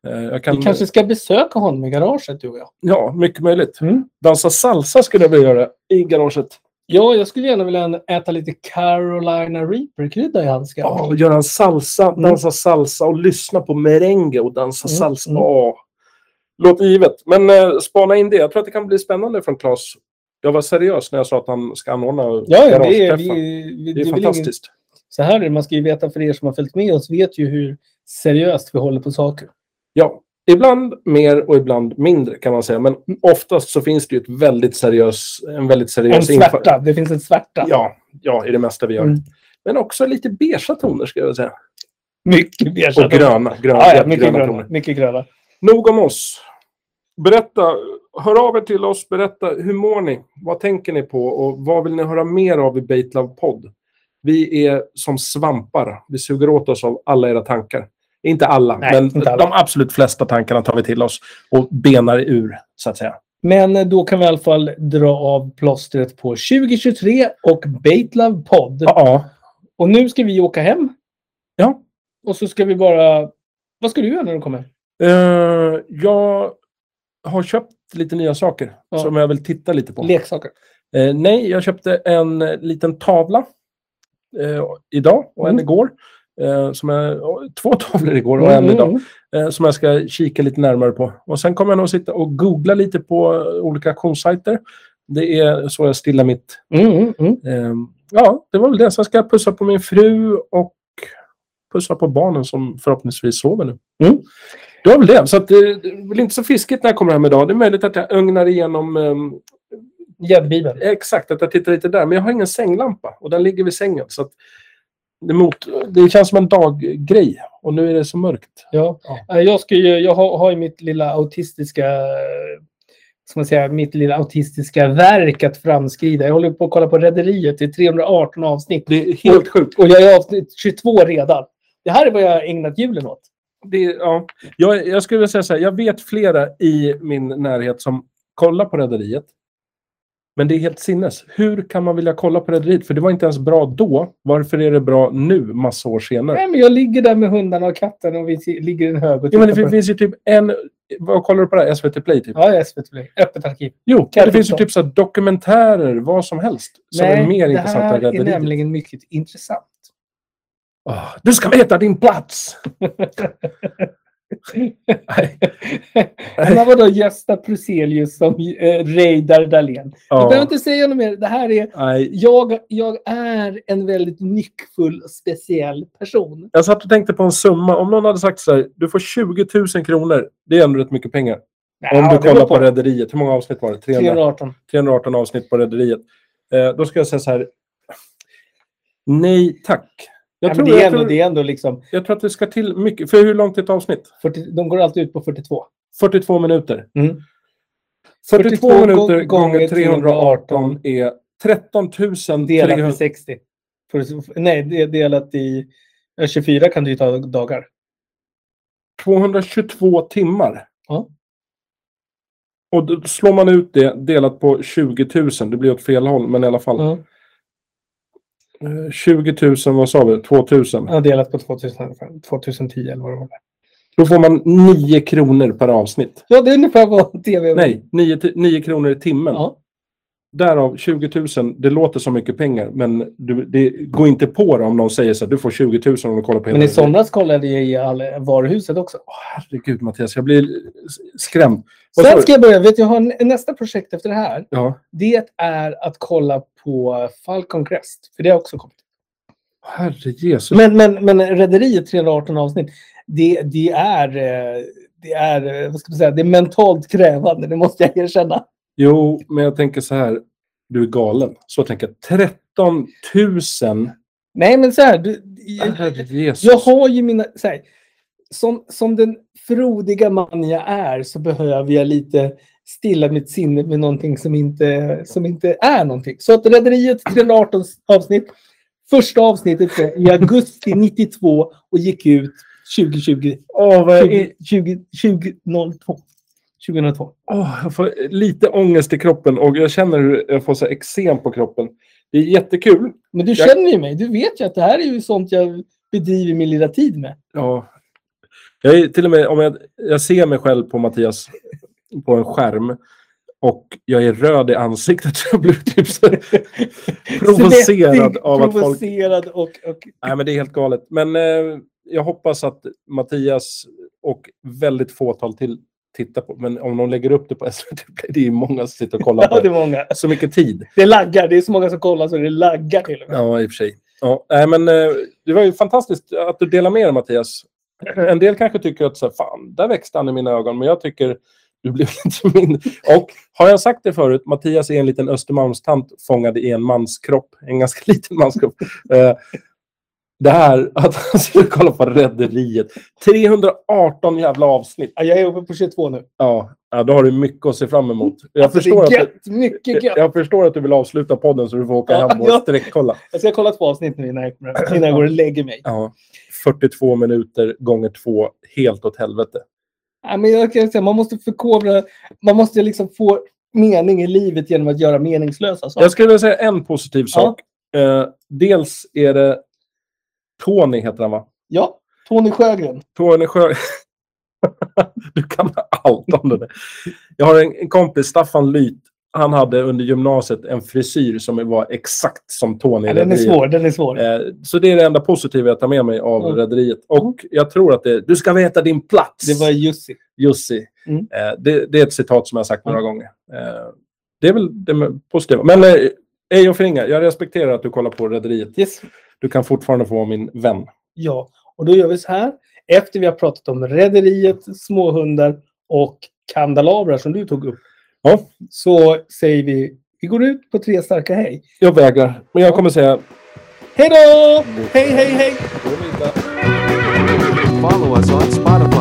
Eh, jag
Vi
kan,
kanske ska besöka honom i garaget, du och jag.
Ja, mycket möjligt.
Mm.
Dansa salsa skulle jag vilja göra i garaget.
Ja, jag skulle gärna vilja äta lite Carolina Reaper-krydda i handsken.
Ja, göra en salsa, dansa salsa och lyssna på merengue och dansa
Mm,
salsa.
mm.
Åh. Låter givet. Men eh, spana in det. Jag tror att det kan bli spännande från Claes. Jag var seriös när jag sa att han ska anordna
Ja, ja, det är,
garageträffar.
vi, vi,
det är
väl ingen-
fantastiskt.
Så här är det, man ska ju veta för er som har följt med oss, vet ju hur seriöst vi håller på saker.
Ja, ibland mer och ibland mindre kan man säga. Men oftast så finns det ju ett väldigt seriös, en väldigt
En
seriös infall-
svärta, det finns en svärta.
alltså Ja, ja, i det mesta vi gör.
Mm.
Men också lite beiga toner ska jag säga.
Mycket beige.
Och gröna. gröna
Ja, ja,
helt
mycket
gröna
gröna.
toner.
Mycket gröna.
Nog om oss. Berätta, hör av er till oss. Berätta, hur mår ni? Vad tänker ni på? Och vad vill ni höra mer av i Bait Love Podd? Vi är som svampar. Vi suger åt oss av alla era tankar. Inte alla,
Nej,
men
inte alla.
de absolut flesta tankarna tar vi till oss och benar ur, så att säga.
Men eh, då kan vi i alla fall dra av plåstret på 2023 och Baitlove podd.
Ja.
Och nu ska vi åka hem
ja.
och så ska vi bara... Vad ska du göra när du kommer?
Eh, jag har köpt lite nya saker
Ja.
som jag vill titta lite på.
Leksaker.
Eh, nej, jag köpte en eh, liten tavla eh, idag och en
Mm.
igår. Eh, som jag, ja, två tavlor igår och en idag. Eh, som jag ska kika lite närmare på. Och sen kommer jag nog sitta och googla lite på eh, olika auktionssajter. Det är så jag stillar mitt...
Mm, mm, mm.
Eh, ja, det var väl det. Sen ska jag pussa på min fru och pussa på barnen som förhoppningsvis sover nu.
Mm.
Det var väl det. Så att, eh, det är väl inte så fiskigt när jag kommer hem idag. Det är möjligt att jag ögnar igenom ehm,
Gäddbibeln.
Exakt, att jag tittar lite där. Men jag har ingen sänglampa och den ligger vid sängen. Så att det, mot, det känns som en daggrej och nu är det så mörkt.
Ja. Eh, Jag, ska ju, jag har, har ju mitt lilla autistiska eh, ska man säga, mitt lilla autistiska verk att framskrida. Jag håller på att kolla på Rederiet. Det är 318 avsnitt.
Det är helt sjukt.
Och jag är avsnitt 22 redan. Det här är vad jag har ägnat julen åt.
Det, är- ja. jag, jag skulle vilja säga så här, jag vet flera i min närhet som kollar på Rederiet. Men det är helt sinnes. Hur kan man vilja kolla på Rederiet? För det var inte ens bra då. Varför är det bra nu, massa år senare?
Nej, men jag ligger där med hundarna och katten och vi si- ligger i en hög och
Jo, men
tittar
det
på-
finns ju typ en... Vad kollar du på det här? SVT Play, typ?
Ja, SVT Play. Öppet arkiv.
Jo,
Kan
det
jag
finns ju
förstå.
typ så här dokumentärer, vad som helst, som är mer
det
intressanta
här
än
är
Rederiet.
nämligen mycket intressant.
Ah, du ska veta din plats! Nej.
Men vadå Gösta Pruselius som eh, Reidar Dahlén? Du
Ja,
behöver inte säga något mer. Det här är
nej.
Jag, jag är en väldigt nyckfull och speciell person.
Jag satt och tänkte på en summa. Om någon hade sagt så här, du får 20 000 kronor. Det är ändå rätt mycket pengar. Om du kollar på Rederiet. Hur många avsnitt var det? 300,
318.
318 avsnitt på Rederiet. Eh, då ska jag säga så här. Nej tack. Jag,
Jag
tror,
men det, är
jag,
ändå,
tror,
det är ändå liksom...
jag tror att det ska till mycket. För hur långt är ett avsnitt?
40, de går alltid ut på 42.
42 minuter.
Mm.
42,
42
minuter
gång- gånger
gånger 318 är 13
Delat i
300.
60. För, nej, det är delat i Ja, 24 kan det ju ta dagar.
222 timmar.
Ja.
Och då slår man ut det delat på 20 000, det blir åt fel håll, men i alla fall.
Ja.
Eh, 20 000, vad sa vi? 2 000.
Ja, delat på 2000, ungefär. 2010 eller vad det var.
Då får man 9 kronor per avsnitt.
Ja, det är ungefär vad tv
Nej, 9, ti- 9 kronor i timmen.
Ja.
Därav 20 000, det låter som mycket pengar, men du, det går inte på det om någon säger så här, du får 20 000 om du kollar på hela
Men i
videon."
somras kollade jag i all- varuhuset också.
Åh, herregud Mattias, jag blir skrämd. Vad sa
Sen
du?
ska jag börja. Vet du, jag har n- nästa projekt efter det här.
Ja,
Det är att kolla på Falcon Crest. För det har också kommit.
herre Jesus.
Men, men, men Rederiet 318 avsnitt. Det, det är... eh, Det är, eh, vad ska man säga, det är mentalt krävande, det måste jag erkänna.
Jo, men jag tänker så här, du är galen. Så jag tänker 13 000,
Nej, men så här, du,
herre Jesus.
Jag har ju mina... Så här, som, som den frodiga man jag är så behöver jag lite stilla mitt sinne med någonting som inte, som inte är någonting. Så att Rederiet 318 avsnitt. Första avsnittet är i augusti 92 och gick ut 2020.
Åh, vad jag, är...
20, 20, 2002. 2002.
Åh, jag får lite ångest i kroppen och jag känner hur jag får så här eksem på kroppen. Det är jättekul.
Men du
Jag-
känner ju mig. Du vet ju att det här är ju sånt jag bedriver min lilla tid med.
Ja. Jag är till och med, om jag, jag ser mig själv på Mattias på en skärm och jag är röd i ansiktet. Jag blir typ så provocerad
Svettig,
av att folk...
provocerad och, och
Nej, men det är helt galet. Men eh, jag hoppas att Mattias och väldigt fåtal till tittar på. Men om de lägger upp det på SVT, det är ju många som sitter och kollar
ja,
på
det
det.
var många.
Så mycket tid.
Det laggar. Det är så många som kollar så det laggar till och med.
Ja, i och för sig. Ja, nej, men, eh, det var ju fantastiskt att du delar med dig, Mattias. En del kanske tycker att så här, fan, där växte han i mina ögon, men jag tycker du blev inte min. Och har jag sagt det förut, Mattias är en liten Östermalmstant fångad i en manskropp. En ganska liten manskropp. Eh, Det här att han skulle kolla på Rederiet. 318 jävla avsnitt.
Ja, jag är uppe på 22 nu.
Ja, ja, då har du mycket att se fram emot. Jag,
Alltså,
förstår, att
det är
du,
gött. Mycket gött.
jag förstår att du vill avsluta podden så du får åka
Ja,
hem och
ja.
sträckkolla.
Alltså, Jag ska kolla två avsnitt nu innan jag, kommer hem, innan jag går och lägger mig.
Ja, 42 minuter gånger två, helt åt helvete.
Ja, men jag kan säga, man måste förkovra. Man måste liksom få mening i livet genom att göra meningslösa saker.
Jag skulle vilja säga en positiv sak. Eh, dels är det Tony, heter han va?
Ja, Tony Sjögren.
Tony Sjö... du kan allt om det där. Jag har en, en kompis, Staffan Lyth. Han hade under gymnasiet en frisyr som var exakt som Tony.
Ja, den är
Rederiet.
svår. Den är svår.
Eh, Så det är det enda positiva jag tar med mig av
Mm.
Rederiet. Och jag tror att det Du ska veta din plats!
Det var Jussi.
Jussi.
Mm.
Eh, det, det är ett citat som jag har sagt några gånger. Eh, det är väl det med- positiva. Men eh, ej och förringa, jag respekterar att du kollar på Rederiet.
Yes.
Du kan fortfarande få vara min vän.
Ja, och då gör vi så här. Efter vi har pratat om Rederiet, småhundar och kandelabrar som du tog upp.
Ja.
Så säger vi, vi går ut på tre starka hej.
Jag vägrar, men jag kommer säga...
Hej då! Hej, hej, hej!
Follow us on Spotify.